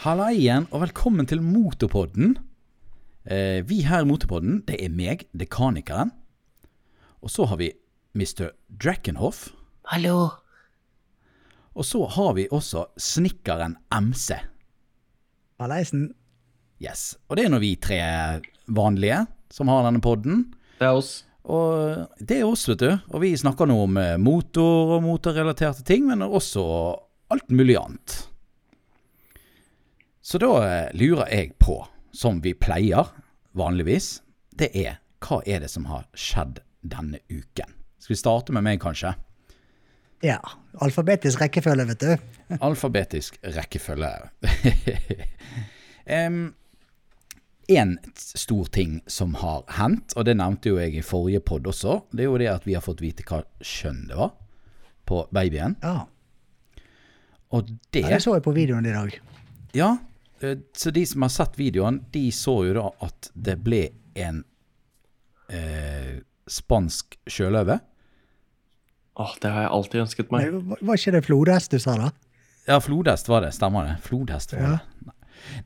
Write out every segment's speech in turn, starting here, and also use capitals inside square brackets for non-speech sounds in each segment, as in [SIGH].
Halla igjen, og velkommen til Motorpodden. Eh, vi her i Motorpodden, det er meg, dekanikeren. Og så har vi Mr. Drakenhoff. Hallo. Og så har vi også snekkeren MC. Hallaisen. Yes. Og det er nå vi tre vanlige som har denne podden. Det er oss. Og det er oss, vet du. Og vi snakker nå om eh, motor og motorrelaterte ting, men også alt mulig annet. Så da eh, lurer jeg på, som vi pleier vanligvis, det er hva er det som har skjedd denne uken? Skal vi starte med meg, kanskje? Ja. Alfabetisk rekkefølge, vet du. Alfabetisk rekkefølge. [LAUGHS] Em, En stor ting som har hendt, og det nevnte jo jeg i forrige pod også, det er jo det at vi har fått vite hva kjønn det var på babyen. Ja. Og ja det det så jeg på videoen i dag. Ja, eh, så de som har sett videoen, de så jo da at det ble en eh, spansk sjøløve. Åh, det har jeg alltid ønsket meg. Men var- Var ikke det flodhest du sa, da? Ja, flodhest var det, stemmer det. Flodhest var Ja. det.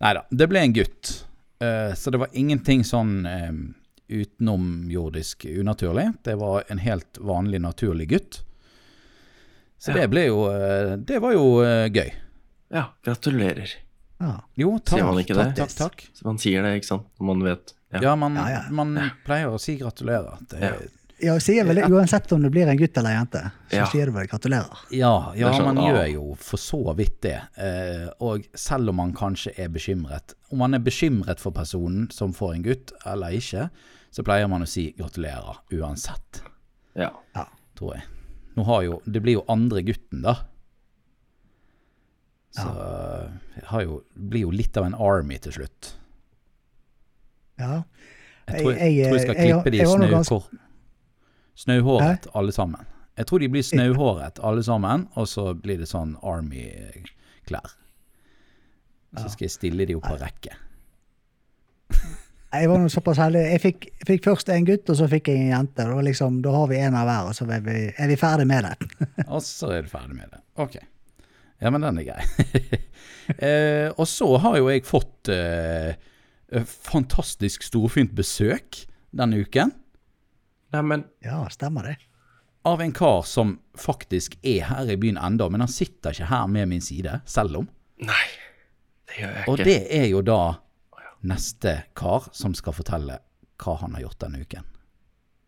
Nei da, det ble en gutt. Eh, så det var ingenting sånn eh, utenomjordisk unaturlig. Det var en helt vanlig, naturlig gutt. Så Ja. det ble jo eh, Det var jo eh, gøy. Ja, gratulerer. Ja. Jo, takk. Sier man ikke takk, det? Takk, takk. Så man sier det, ikke sant? Når man vet. Ja. Ja, man, Ja, ja. man pleier å si gratulerer. Det, Ja. Ja, sier vel det, Uansett om det blir en gutt eller en jente, så Ja. sier du vel gratulerer. Ja, ja Det er sånn, man ah. gjør jo for så vidt det. Eh, og selv om man kanskje er bekymret, om man er bekymret for personen som får en gutt eller ikke, så pleier man å si gratulerer uansett, Ja. Ja. tror jeg. Nå har jo, det blir jo andre gutten da. Så jeg har jo, blir jo litt av en army til slutt. ja. Jeg tror jeg, Jeg- jeg- tror jeg skal jeg- jeg- klippe jeg har de noe ganske- snøhår, snøhåret alle sammen. Jeg tror de blir snøhåret alle sammen, og så blir det sånn Army-klær. Så skal jeg stille de opp på rekke. Jeg var nå såpass heldig. Jeg fikk, fikk først en gutt, og så fikk jeg en jente. Da, liksom, da har vi en av hver, og så er vi, er vi ferdig med det. Og så er du ferdig med det. Ok. Ja, men den er [LAUGHS] grei. eh, og så har jo jeg fått eh, fantastisk storfint besøk denne uken Nei, men Ja, stemmer det. av en kar som faktisk er her i byen enda, men han sitter ikke her med min side, selv om. Nei. Det gjør jeg Og ikke. det er jo da neste kar som skal fortelle hva han har gjort denne uken.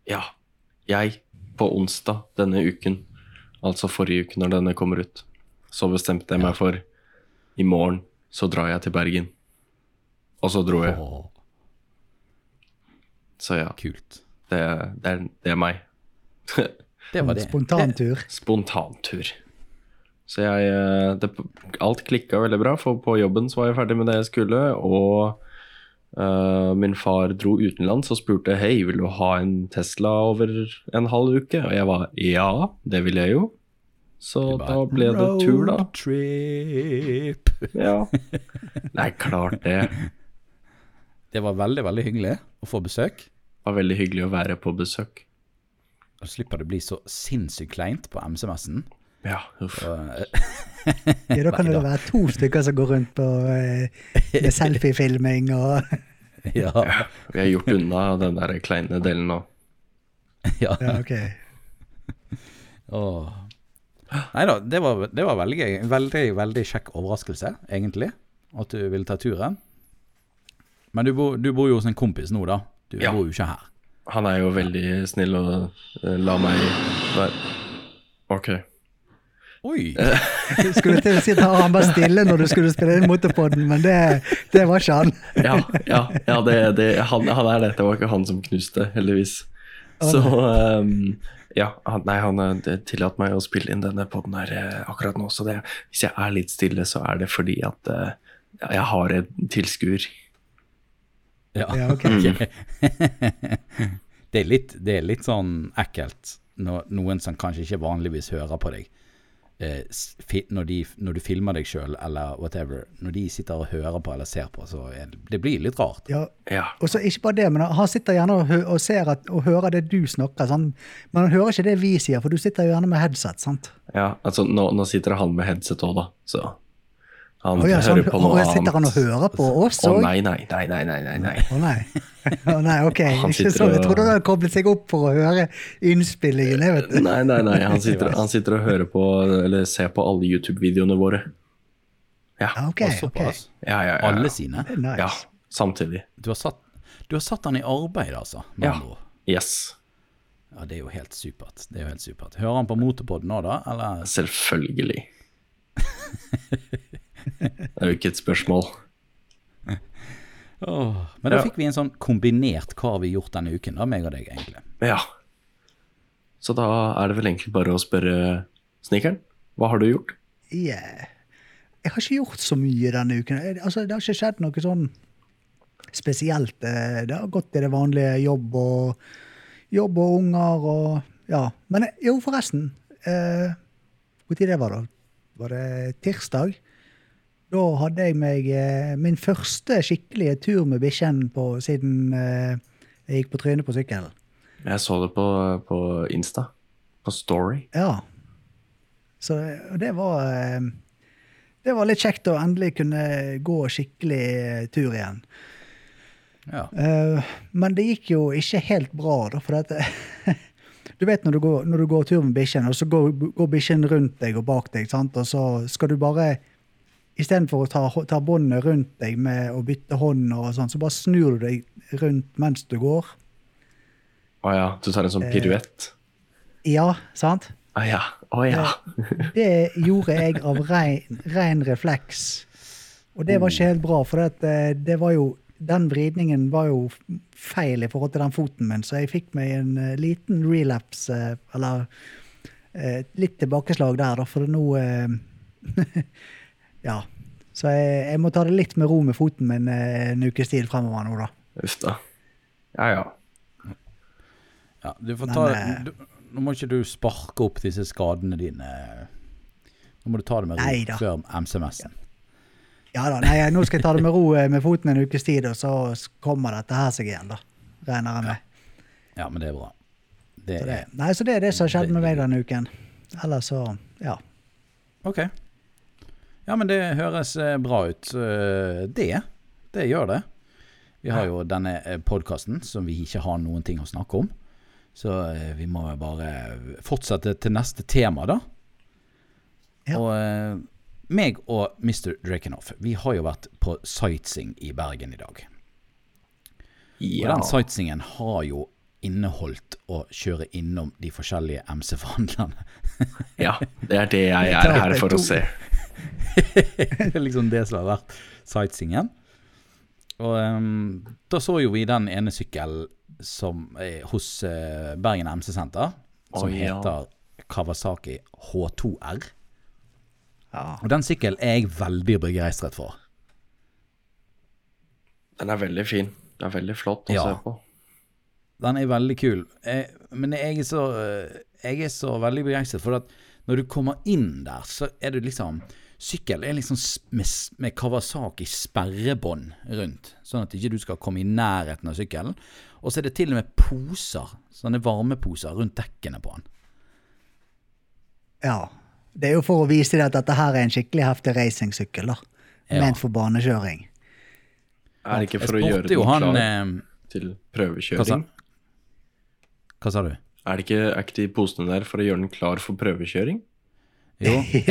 Ja. Jeg, på onsdag denne uken, altså forrige uke når denne kommer ut, så bestemte jeg meg for i morgen så drar jeg til Bergen. Og så dro jeg. Åh, Så ja, kult. det, det, er, det er meg. Det var det. Spontantur. Spontantur. Så jeg eh, det, Alt klikka veldig bra, for på jobben så var jeg ferdig med det jeg skulle. Og eh, min far dro utenlands og spurte hei, vil du ha en Tesla over en halv uke. Og jeg var ja, det vil jeg jo. Så Du bare, da ble det tur, da. Roadtrip. Ja. Nei, klart det. Det var veldig, veldig hyggelig å få besøk. Det var veldig hyggelig å være på besøk. Og slipper det bli så sinnssykt kleint på MCMS-en. Ja, uff. Og, [LAUGHS] Ja, da kan det Neida. være to stykker som går rundt på, eh, [LAUGHS] med selfiefilming og ja, Vi har gjort unna den der kleine delen nå. ja. Ja, OK. Åh. Nei da, det var, det var veldig gøy. En Veldig, veldig kjekk overraskelse, egentlig. At du ville ta turen. Men du bor, du bor jo hos en kompis nå, da. Du Ja. bor jo ikke her. Han er jo veldig snill og eh, la meg Nei. Ok. Oi! Eh, Jeg Skulle til å si at han var stille når du skulle spille inn motorpodden, men det, det var ikke han. Ja, ja, ja det, det, han, han er det. Det var ikke han som knuste, heldigvis. Så ehm, ja, han, nei, han eh, det tillater meg å spille inn denne podden her eh, akkurat nå. Så det, hvis jeg er litt stille, så er det fordi at eh, ja, jeg har en tilskuer. Ja, ok. [LAUGHS] det, er litt, det er litt sånn ekkelt når noen som kanskje ikke vanligvis hører på deg, eh, s- fi, når, de, når du filmer deg sjøl eller whatever, når de sitter og hører på eller ser på, så er det, det blir litt rart. Ja, Ja. og så ikke bare det, men Han sitter gjerne og, hø og ser at, og hører det du snakker, sant? men han hører ikke det vi sier, for du sitter jo gjerne med headset. sant? ja altså, nå, nå sitter han med headset òg, da. Så Han Å ja, så han, hører på noe å, annet. sitter han og hører på oss Å òg? nei, nei, nei, nei, nei, nei, nei. Å nei. Å nei, ok. Han Ikke sitter sånn. Jeg og- trodde han hadde koblet seg opp for å høre innspillingen. jeg vet du. Nei, nei, nei. Han sitter, han sitter og hører på, eller ser på alle YouTube-videoene våre. Ja. Ja, Ok, Og ok. såpass. Ja, ja, ja, Alle ja. sine. Det er nice. ja samtidig. Du har satt, du har satt han i arbeid, altså. med Ja. andre ord. Yes. ja, det er jo helt supert. Det er jo helt supert. Hører han på Motorpod nå, da? Eller Selvfølgelig. Det er jo ikke et spørsmål. Åh, Men da Ja. fikk vi en sånn kombinert hva har vi gjort denne uken, da, meg og deg, egentlig. Ja. Så da er det vel egentlig bare å spørre snikeren. Hva har du gjort? Yeah. Jeg har ikke gjort så mye denne uken. Eh, Altså, det har ikke skjedd noe sånn spesielt. eh, Det har gått i det vanlige jobb og, jobb og unger og Ja. Men eh, jo, forresten. eh, Hvor tid det var da? Var det tirsdag? Da hadde jeg meg eh, min første skikkelige tur med bikkjen på siden eh, jeg gikk på trynet på sykkelen. Jeg så det på, på Insta. På Story. Ja. Så eh, og det var eh, Det var litt kjekt å endelig kunne gå skikkelig eh, tur igjen. Ja. Eh, Men det gikk jo ikke helt bra, da, for at [LAUGHS] Du vet når du går, når du går tur med bikkjen, og så går, går bikkjen rundt deg og bak deg, sant? og så skal du bare Istedenfor å ta, hå- ta båndet rundt deg med å bytte hånd, og sånn, så bare snur du deg rundt mens du går. Å ja, du tar en sånn piruett. Ja, sant? Å ja. Å ja. Det gjorde jeg av rein, rein refleks. Og det var ikke helt bra, for det, at, eh, det var jo, den vridningen var jo feil i forhold til den foten min, så jeg fikk meg en eh, liten relapse, eh, eller eh, litt tilbakeslag der, da, for nå eh, [LAUGHS] Ja. Så jeg, jeg må ta det litt med ro med foten min eh, en ukes tid fremover nå, da. [LAUGHS] Uff da. Ja ja. ja du får ta, Men, eh, du, nå må ikke du sparke opp disse skadene dine. Nå må du ta det med Nei ro da. før MCMS-en. Ja da, nei, nå skal jeg ta det med ro eh, med foten en ukes tid, og så kommer dette her seg igjen, da. Regner jeg med. Ja, men det er bra. Det Så det, er Eh, nei, så det er det som har skjedd med meg denne uken. Ellers så, ja. Ok. Ja, men det høres eh, bra ut. Eh, Det. Det gjør det. Vi har jo denne podkasten som vi ikke har noen ting å snakke om. Så eh, vi må bare fortsette til neste tema, da. Ja. Og eh, meg og Mr. Drakenhoff, vi har jo vært på sightseeing i Bergen i dag. Og ja. den sightseingen har jo inneholdt å kjøre innom de forskjellige MC-forhandlerne. [LAUGHS] ja. Det er det jeg er her for å se. Det er liksom det som har vært sightseeingen. Og ehm, da så jo vi den ene sykkelen som er hos eh, Bergen MC Senter, som Å, ja. heter Kawasaki H2R. ja. Og den sykkelen er jeg veldig begeistret for. Den er veldig fin. Den er veldig flott å Ja. se på. Den er veldig kul. Jeg, men jeg er, så, eh, jeg er så veldig begeistret, for at når du kommer inn der, så er du liksom Sykkel er liksom s- med, s- med Kawasaki-sperrebånd rundt, sånn at ikke du skal komme i nærheten av sykkelen. Og så er det til og med poser, sånne varmeposer, rundt dekkene på den. ja. Det er jo for å vise deg at dette her er en skikkelig heftig racingsykkel, da. Ja. Ment for banekjøring. Er det ikke Jeg for å gjøre spurte den jo han klar eh, til Hva sa, prøvekjøring? hva sa du? Er, det ikke, er ikke de posene der for å gjøre den klar for prøvekjøring? Jo, jeg,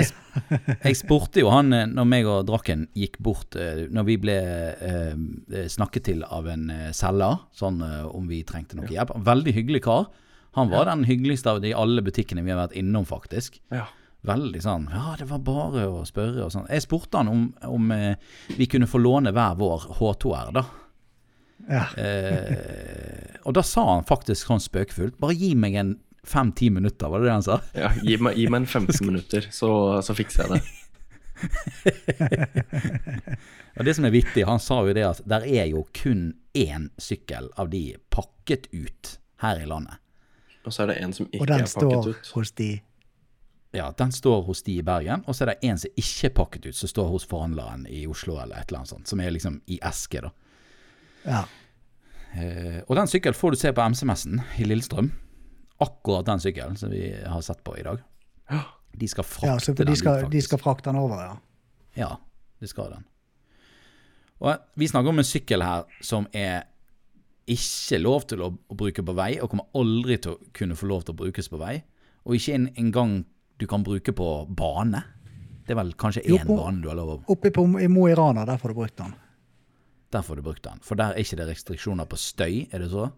jeg spurte jo han eh, når meg og Drakken gikk bort eh, Når vi ble eh, eh, snakket til av en eh, selger, sånn eh, om vi trengte noe hjelp. Veldig hyggelig kar. Han var den hyggeligste av de alle butikkene vi har vært innom, faktisk. Ja. Veldig sånn Ja, det var bare å spørre og sånn. Jeg spurte han om, om eh, vi kunne få låne hver vår H2R, da. Ja. Eh, og da sa han faktisk sånn spøkefullt Bare gi meg en fem-ti minutter, var det det han sa? ja gi, meg, gi meg [LAUGHS] en 15 minutter, så, så fikser jeg det. Og det som er vittig, han sa jo det at der er jo kun én sykkel av de pakket ut her i landet. Og så er det en som Og ikke den er pakket står ut. hos de Ja, den står hos de i Bergen, og så er det en som ikke er pakket ut, som står hos forhandleren i Oslo eller et eller annet sånt, som er liksom i eske, da. Ja. Eh, og den sykkelen får du se på MC-messen i Lillestrøm. Akkurat den sykkelen som vi har sett på i dag. Ja. De skal frakte ja så den de skal, ut, de faktisk. skal frakte den over, ja. Ja, Det skal den. Og vi snakker om en sykkel her som er ikke lov til å, å bruke på vei, og kommer aldri til å kunne få lov til å brukes på vei. Og ikke en- engang du kan bruke på bane. Det er vel kanskje Jo, én på- bane du har lov til. Oppe på, i Mo i Rana, der får du brukt den. Der får du brukt den. For der er ikke det restriksjoner på støy, er det så?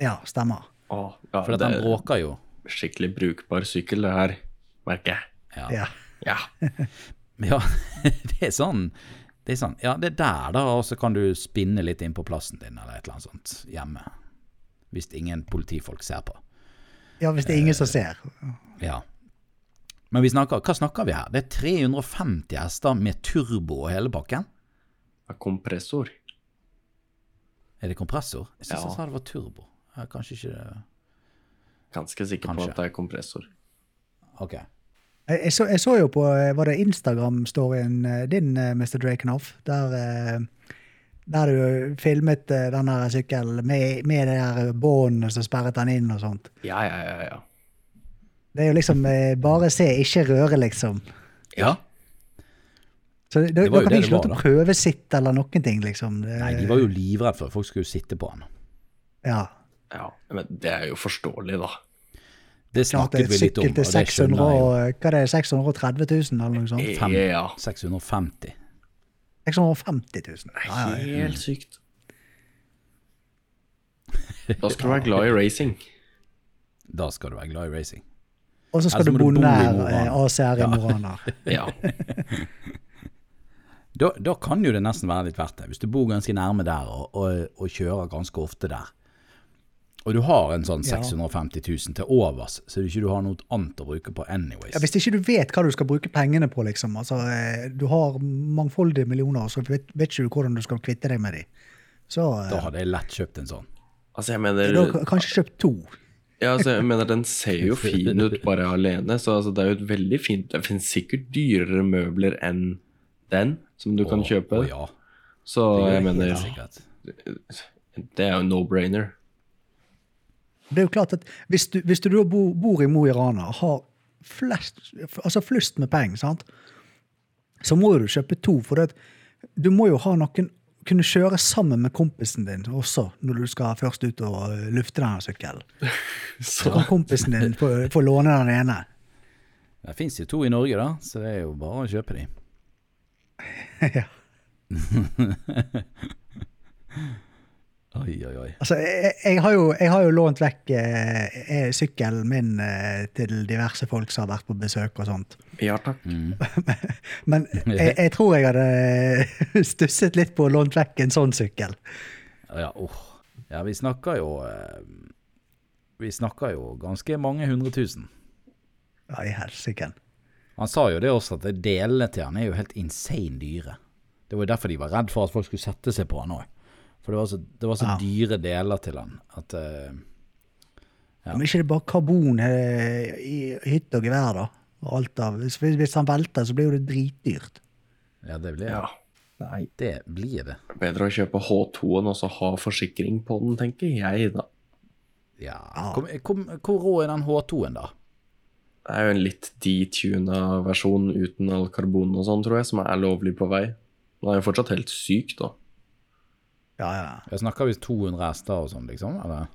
Ja, stemmer. Åh, ja, For at det den er bråker jo. skikkelig brukbar sykkel, det her, merker Ja. jeg. Ja. Ja. [LAUGHS] Ja, det er sånn. Det er sånn, ja, det er der, da, og så kan du spinne litt inn på plassen din eller et eller annet sånt hjemme. Hvis ingen politifolk ser på. ja, hvis det er ingen som ser. Ja. Men vi snakker, hva snakker vi her? Det er 350 hester med turbo og hele pakken. Ja, Kompressor. Er det kompressor? Jeg syns Ja. jeg sa det var turbo. Ja, kanskje ikke det Ganske sikker Kanskje. på at det er kompressor. Ok. Jeg, jeg, så, jeg så jo på eh, var det Instagram-storyen eh, din, eh, Mr. Drakenhoff, der, eh, der du filmet eh, den der sykkelen med, med det der båndet som sperret den inn og sånt. Ja, ja, ja. ja. Det er jo liksom eh, bare se, ikke røre, liksom. Ja. Så det, Det var jo da kan det vi ikke det lov til var, å prøvesitte eller noen ting, liksom. Det, Nei, de var jo livredde for at folk skulle sitte på han. ja. ja. Men det er jo forståelig, da. Det Klart snakket det er vi et litt om, sykkel og til det 600, skjønner jeg jo. Eh, og- hva er det, 630 000 eller noe sånt? Fem. Ja. 650. 650 000. Ja, ja. Helt sykt. Da skal du være glad i racing. Da skal du være glad i racing. Og så skal Altså, må du bo du bo i nær Mo Rana. eh, ACR i Mo Rana. Ja. Da, da kan jo det nesten være litt verdt det, hvis du bor ganske nærme der og, og, og kjører ganske ofte der. Og du har en sånn Ja. 650 000 til overs, så du ikke du har noe annet å bruke på anyways. Ja, hvis ikke du vet hva du skal bruke pengene på, liksom. Altså, eh, du har mangfoldige millioner, og så vet, vet ikke du hvordan du skal kvitte deg med dem. Så eh, Da hadde jeg lett kjøpt en sånn. Altså, jeg da mener k- kanskje kjøpt to. Ja, altså, jeg mener den ser [LAUGHS] jo fin ut bare alene, så altså, det er jo et veldig fint Det finnes sikkert dyrere møbler enn den som du kan Og- kjøpe. og ja, Så det gjør jeg jeg mener helt sikkert. Det er jo no-brainer. [LAUGHS] Det er jo klart at Hvis du, hvis du da bor, bor i Mo i Rana og har flest, altså flust med penger, sant? så må jo du kjøpe to. For det, at du må jo ha noen kunne kjøre sammen med kompisen din også, når du skal først ut og eh, lufte denne sykkelen. Så Så kan kompisen din få, få låne den ene. [LAUGHS] Det fins jo to i Norge, da, så det er jo bare å kjøpe de. ja. Oi, oi, oi. Altså, jeg, jeg, har jo, jeg har jo lånt vekk eh, eh, sykkelen min eh, til diverse folk som har vært på besøk og sånt. ja takk. Men jeg, jeg tror jeg hadde [LAUGHS] stusset litt på å lånt vekk en sånn sykkel. Ja, åh. ja vi snakker jo eh, Vi snakker jo ganske mange hundre tusen. Ja, i helsiken. Han sa jo det også, at delene til han er jo helt insane dyre. Det var jo derfor de var redd for at folk skulle sette seg på han òg. For det var så, det var så Ja. dyre deler til han at eh, Ja. Om ikke det er bare karbon eh, i hytte og gevær, da. Og alt av. Hvis, hvis han velter, så blir jo det dritdyrt. Ja, det blir Ja. Nei. det. blir det. Bedre å kjøpe H2-en og så ha forsikring på den, tenker jeg, da. Ja. Ja. Kom, kom, hvor rå er den H2-en, da? Det er jo en litt detuna versjon uten all karbon og sånn, tror jeg, som er lovlig på vei. Den er jo fortsatt helt syk, da. Ja, ja. Jeg snakker visst 200 hester og sånn, liksom? Eller?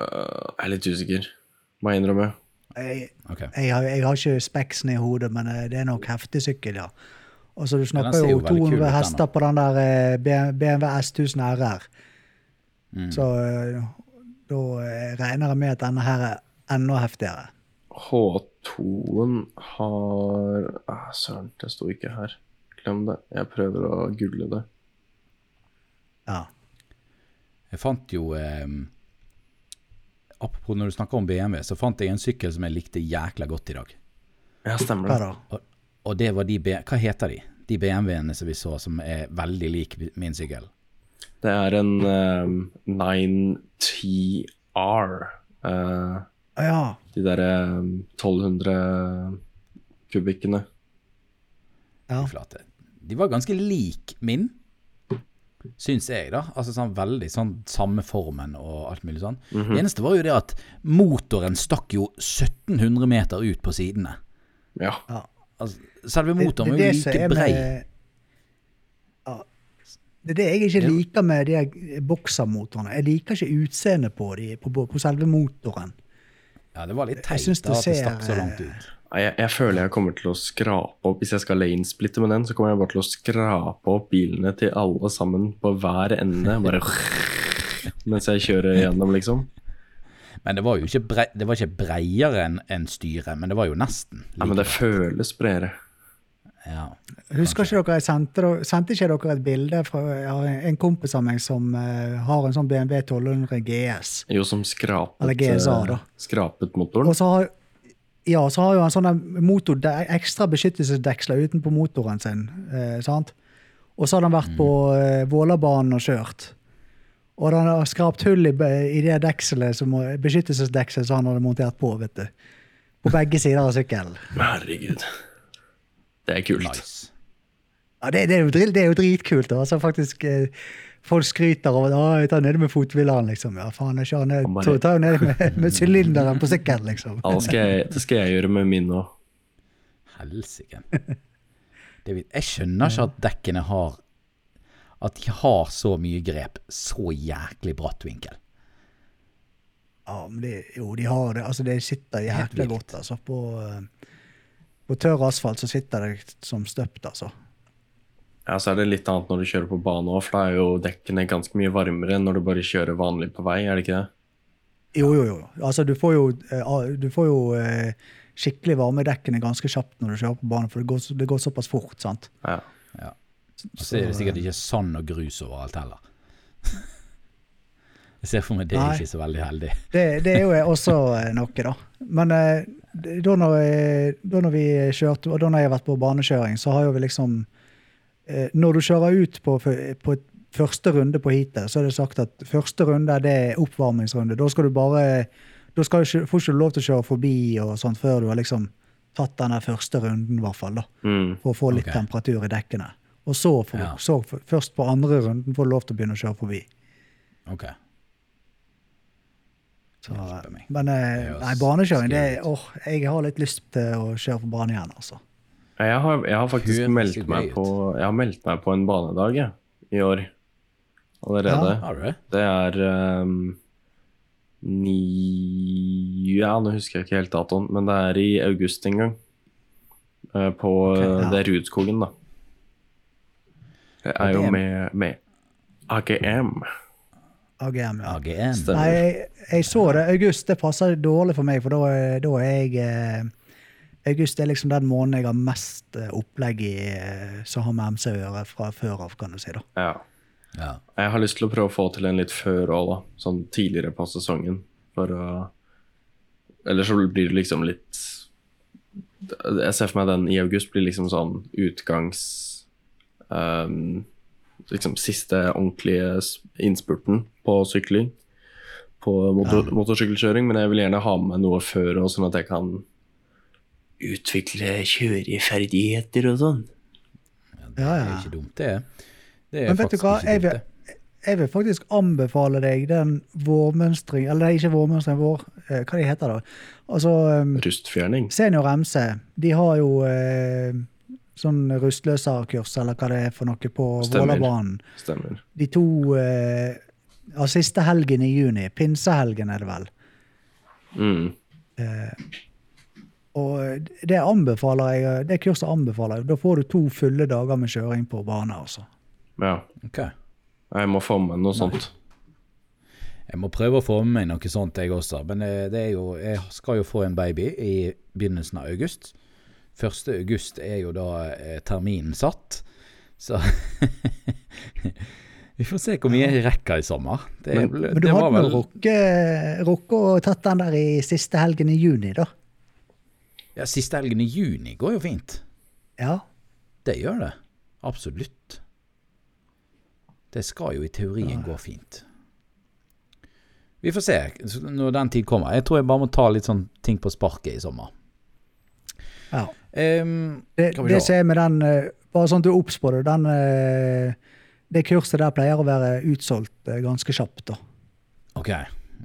Øh, jeg er litt usikker, må jeg innrømme. Jeg, Ok. jeg, har, jeg har ikke speksen i hodet, men eh, det er nok heftig sykkel, ja. Og så Du den ser snakker jo jo veldig kul ut, 200 den, da. hester på den der eh, B- BMW S1000 RR. Mm. Så eh, da eh, regner jeg med at denne her er enda heftigere. H2-en har ah, Søren, det sto ikke her. Glem det. Jeg prøver å google det. Ja. Jeg fant jo eh, Apropos når du snakker om BMW, så fant jeg en sykkel som jeg likte jækla godt i dag. Ja, stemmer Hva det. da? Og, og det var de B Hva heter de? De BMW-ene som vi så som er veldig lik min sykkel. Det er en ehm, 9TR. eh, Å ja. de derre 1200 kubikkene. ja. flate. De var ganske lik min, syns jeg, da. Altså sånn veldig sånn samme formen og alt mulig sånn. Mhm. Det eneste var jo det at motoren stakk jo 1700 meter ut på sidene. Ja. ja. Altså, selve Det- motoren det var jo er det som like er brei. med- Det er det jeg ikke liker med de her boksermotorene. Jeg liker ikke utseendet på, de, på, på, på selve motoren. Ja, det var litt Jeg teit synes da, det at det ser, eh, stakk så langt ut. Nei, Jeg, jeg føler jeg kommer til å skrape opp Hvis jeg skal lanesplitte med den, så kommer jeg bare til å skrape opp bilene til alle sammen på hver ende. Bare [LAUGHS] mens jeg kjører gjennom, liksom. Men det var jo ikke, bre det var ikke breiere enn enn styret, men det var jo nesten. Nei, men det føles bredere. Ja. Husker ikke dere jeg sendte, dere- sendte ikke dere et bilde fra jeg har en kompis av meg som eh, har en sånn BMW 1200 GS? Jo, som skrapet, Eller GSA, eh, da. skrapet Og motoren. så har, ja, så har jo han sånne motor, de- ekstra beskyttelsesdeksler utenpå motoren sin. Eh, sant? Og så har han vært på eh, Vålerbanen og kjørt. Og han har skrapt hull i, be- i det dekselet som, beskyttelsesdekselet som han hadde montert på. vet du. På begge sider av sykkelen. Herregud. Det er kult. Nice. Ja, det, det, er jo, drill- det er jo dritkult. Altså, faktisk, eh, folk skryter av at «Å, jeg tar nede med fotvilleren. Liksom. Ja, faen, jeg kjører ned, Han bare- tar- tar jo nede med, med sylinderen på sykkelen, liksom. [LAUGHS] Ja, det skal jeg, det skal jeg gjøre med min nå. Helsike. Det vil- Jeg skjønner ikke at dekkene har At de har så mye grep, så jæklig bratt vinkel. Ja, men det, jo, de har det. Altså, det sitter helt jækla vilt. godt, altså. På, eh, på tørr asfalt så sitter det som støpt, altså. Ja, så er det litt annet når du kjører på bane òg, for da er jo dekkene ganske mye varmere enn når du bare kjører vanlig på vei, er det ikke det? Jo, jo, jo. Altså, du får jo, eh, ah, du får jo eh, skikkelig varme i dekkene ganske kjapt når du kjører på banen, for det går, så- det går såpass fort, sant? Ja. Ja. Og så er det sikkert ikke sand og grus overalt heller. [LAUGHS] Jeg ser for meg det er Nei. ikke så veldig heldig. Det, det er jo også eh, noe, da. Men eh, da, når, eh, da når vi kjørte, og da når jeg har vært på banekjøring, så har jo vi liksom eh, Når du kjører ut på, f- på et første runde på heatet, så er det sagt at første runde det er oppvarmingsrunde. Da skal du bare Da skal du ikke, får ikke du lov til å kjøre forbi og sånt før du har liksom tatt den der første runden, i hvert fall. da Mm. for å få litt Ok. temperatur i dekkene. Og så, får- Ja. så f- først på andre runden får du lov til å begynne å kjøre forbi. Ok. Så, Hjelpe meg. men eh, Det høres nei, banekjøring det, skummelt ut. åh, Jeg har litt lyst til å kjøre på bane igjen, altså. Ja, Jeg har, jeg har faktisk Høres meldt gøy meg, ut. på, jeg har meldt meg på en banedag jeg, i år allerede. Har du det? Det er ehm, ni Ja, nå husker jeg ikke helt datoen, men det er i august en gang. Eh, på eh, ja. Det er Rudskogen, da. Jeg er jo AGM. med, med AGM. AGM, ja. AGN. Stemmer. Nei, jeg, jeg så det. August det passer dårlig for meg, for da, er- da er jeg eh, August er liksom den måneden jeg har mest eh, opplegg i eh, som har med MC å gjøre fra før av, kan du si. da. Ja. Ja. Jeg har lyst til å prøve å få til en litt før òg, da. Sånn tidligere på sesongen. For å Eller så blir det liksom litt Jeg ser for meg den i august blir liksom sånn utgangs ehm, Liksom siste ordentlige s- innspurten på sykling. På motor, motorsykkelkjøring, men jeg vil gjerne ha med meg noe før òg, sånn at jeg kan Utvikle kjøreferdigheter og sånn. Det Ja, er ja. ikke dumt, det. Det er Men vet du faktisk hva, ikke jeg dumt, vil, det. jeg vil faktisk anbefale deg den vårmønstring Eller nei, ikke vårmønstring, vår eh, Hva de heter det? Altså um, Rustfjerning. Senior MC, de har jo eh, sånn rustløserkurs, eller hva det er for noe, på Stemmer. Vålerbanen. Stemmer. De to eh, ja, Siste helgen i juni. Pinsehelgen, er det vel. Mm. Og det anbefaler jeg, det kurset anbefaler jeg. Da får du to fulle dager med kjøring på bane, altså. Ja. Ok. Jeg må få med noe sånt. Jeg må prøve å få med meg noe sånt, jeg også. Men eh, det er jo, jeg skal jo få en baby i begynnelsen av august. 1. august er jo da eh, terminen satt. Så [LAUGHS] Vi får se hvor mye jeg rekker i sommer. Det, Men- ble- Men du det hadde var nå vel rukket rukket å tatt den der i siste helgen i juni, da. ja, Siste helgen i juni går jo fint. Ja. Det gjør det. Absolutt. Det skal jo i teorien gå fint. Vi får se så når den tid kommer. Jeg tror jeg bare må ta litt sånn ting på sparket i sommer. ja. Ehm, Det, Skal vi det se. som er med den eh, Bare sånn at du er obs på det. Den, eh, det kurset der pleier å være utsolgt eh, ganske kjapt. da. ok,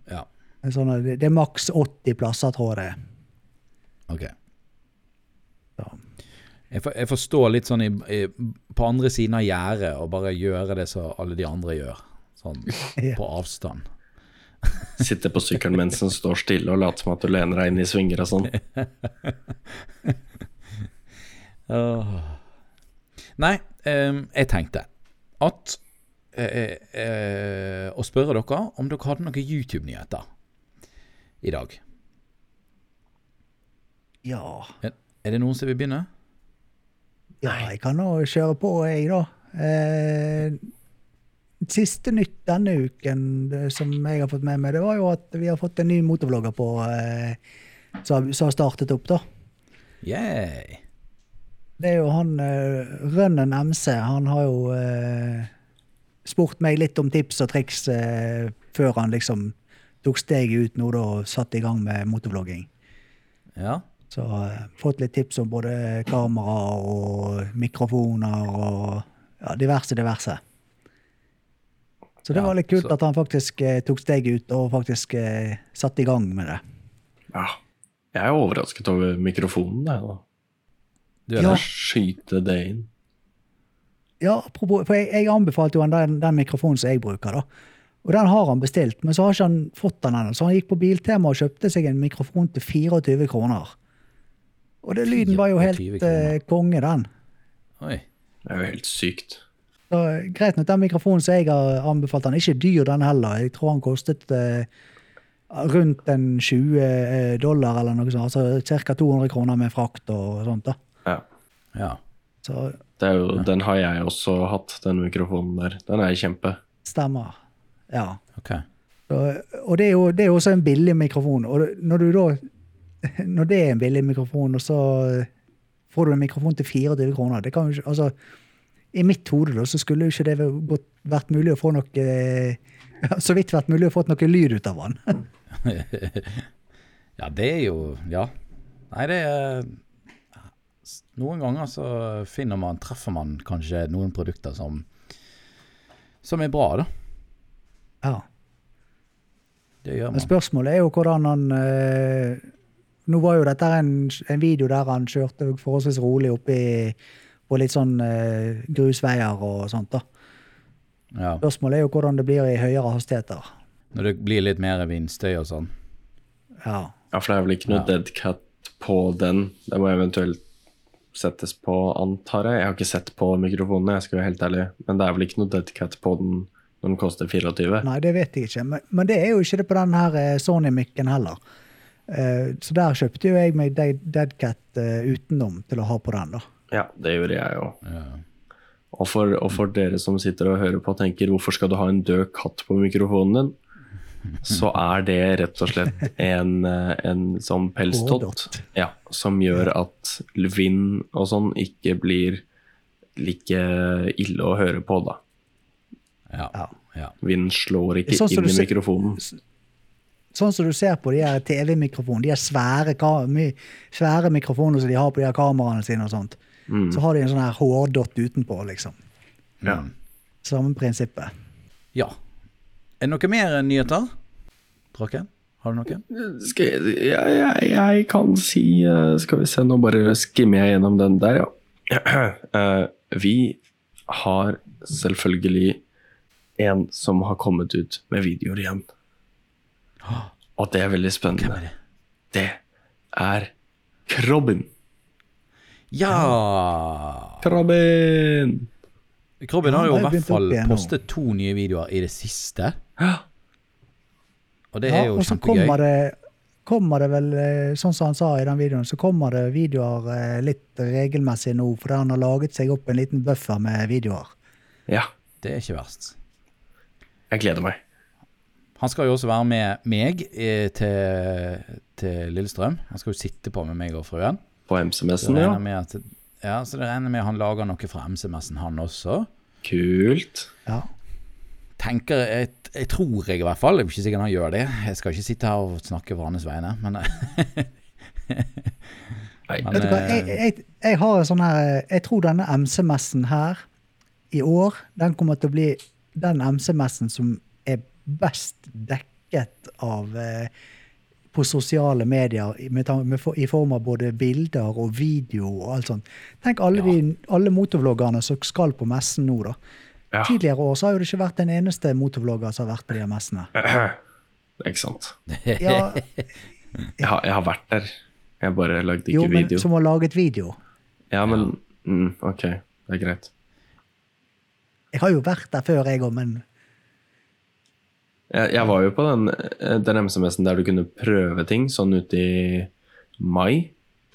ja, En Sånn, eh, det, det er maks 80 plasser, tror jeg det er. ok. Ja. Jeg, for, jeg forstår litt sånn i, i, på andre siden av gjerdet og bare gjøre det som alle de andre gjør. [LAUGHS] Sånn Ja. på avstand. Sitte på sykkelen mens den står stille og late som at du lener deg inn i svinger og sånn. Åh. Ah. Nei, ehm, jeg tenkte at eh, eh, Å spørre dere om dere hadde noen YouTube-nyheter i dag. Ja. Er, er det noen som vil begynne? ja, jeg kan nå kjøre på, jeg, da. Eh, siste nytt denne uken det som jeg har fått med meg, det var jo at vi har fått en ny motorvlogger på eh, som som har startet opp, da. Yeah. Det er jo han uh, Rønnen MC. Han har jo eh, spurt meg litt om tips og triks eh, før han liksom tok steget ut nå da, og satte i gang med motorvlogging. Ja. Så eh, fått litt tips om både kamera og mikrofoner og ja, diverse, diverse. Så det Ja, var litt kult så- at han faktisk eh, tok steget ut og faktisk eh, satte i gang med det. Ja. Jeg er overrasket over mikrofonen, jeg, da. Du er Ja. der. Skyte det inn. Ja, apropos, for jeg, jeg anbefalte jo han den, den mikrofonen som jeg bruker, da. Og den har han bestilt, men så har ikke han fått den ennå. Så han gikk på Biltema og kjøpte seg en mikrofon til 24 kroner. Og det, lyden var jo helt 24 kroner. eh, konge, den. Oi. Det er jo helt sykt. Så, eh, greit nok, den mikrofonen som jeg har anbefalt, den er ikke dyr, den heller. Jeg tror han kostet eh, rundt en 20 eh, dollar eller noe sånt. Altså ca. 200 kroner med frakt og sånt. da. Ja. Ja. Så Det er jo, Den har jeg også hatt, den mikrofonen der. Den er kjempe. stemmer. Ja. Ok. Og og det er, jo, det er jo også en billig mikrofon. Og når du da [LAUGHS] Når det er en billig mikrofon, og så eh, får du en mikrofon til 24 kroner det kan jo ikke, altså, I mitt hode da, så skulle jo ikke det gått- vært mulig å få noe ja, [LAUGHS] Så vidt vært mulig å få noe lyd ut av den. ja, det er jo Ja. Nei, det er s- Noen ganger så finner man, treffer man kanskje noen produkter som Som er bra, da. [LAUGHS] Ja. Det gjør Men man. spørsmålet er jo hvordan han eh, Nå var jo dette en, en video der han kjørte forholdsvis rolig oppi på litt sånn eh, grusveier og sånt. da. Ja. Spørsmålet er jo hvordan det blir i høyere hastigheter. Når det blir litt mer vindstøy og sånn. Ja. Ja, for det er vel ikke noe deadcat på den. Det må eventuelt settes på, antar jeg. Jeg har ikke sett på mikrofonene, jeg skal være helt ærlig. Men det er vel ikke noe deadcat på den når den koster 24. Nei, det vet jeg ikke. Men, men det er jo ikke det på den her eh, Sony-mikken heller. Eh, så der kjøpte jo jeg meg Dead- Deadcat eh, utenom til å ha på den, da. Ja, det gjorde jeg jo. Ja. Og for, og for dere som sitter og hører på og tenker hvorfor skal du ha en død katt på mikrofonen din, så er det rett og slett en, eh, en sånn pelstott Hårdott. ja, som gjør at vind og sånn ikke blir like ille å høre på, da. Ja. Ja. ja. Vind slår ikke Sånn som inn du i ser- mikrofonen. Sånn som du ser på de her TV-mikrofonene, de her svære, ka- my, svære mikrofonene som de har på de her kameraene sine og sånt. Mm. Så har de en sånn her hårdott utenpå, liksom. Ja. Samme prinsippet. ja. Er det noe mer nyheter? Draken, har du noe? Skal jeg, jeg, jeg, jeg kan si eh, Skal vi se, nå bare skimmer jeg gjennom den der, ja. [CLEARS THROAT] Eh, Vi har selvfølgelig en som har kommet ut med videoer igjen. Og det er veldig Hvem er spennende. det? Det er Krobben. Ja! Krobben! Krobben har Ja, jo i det har hvert begynt opp fall igjen nå. postet to nye videoer i det siste. Ja, Og det Ja, er jo og så kommer kjempegøy. det, kommer det vel, eh, sånn som han sa i den videoen, så kommer det videoer eh, litt regelmessig nå, fordi han har laget seg opp en liten buffer med videoer. Ja, Det er ikke verst. jeg gleder meg. Han skal jo også være med meg eh, til, til Lillestrøm. Han skal jo sitte på med meg og fruen. På Så MCMS-en, det Sånn, ja. regner med at, ja, så det regner med han lager noe fra MC-messen, han også. Kult. Ja. Tenker, jeg, jeg tror jeg i hvert fall, jeg er ikke sikker han gjør det. Jeg skal ikke sitte her og snakke på hans vegne, men eh, Nei, Men- Vet du hva, jeg, jeg, jeg har en sånn her Jeg tror denne MC-messen her i år, den kommer til å bli den MC-messen som er best dekket av eh, på sosiale medier i- med, tan- med, for- i form av både bilder og video og alt sånt. Tenk alle, de, alle motorvloggerne som skal på messen nå, da. Ja. Tidligere år så har jo det ikke vært en eneste motorvlogger som har vært på de her [LAUGHS] messene. [CLEARS THROAT] Ikke sant. Ja, Jeg har, jeg har vært der. Jeg bare lagde ikke jo, men video. som har laget video. Ja, men mm, OK, det er greit. Jeg har jo vært der før, jeg òg, men Jeg, jeg var jo på den, eh, den MCMS-en der du kunne prøve ting, sånn ute i mai.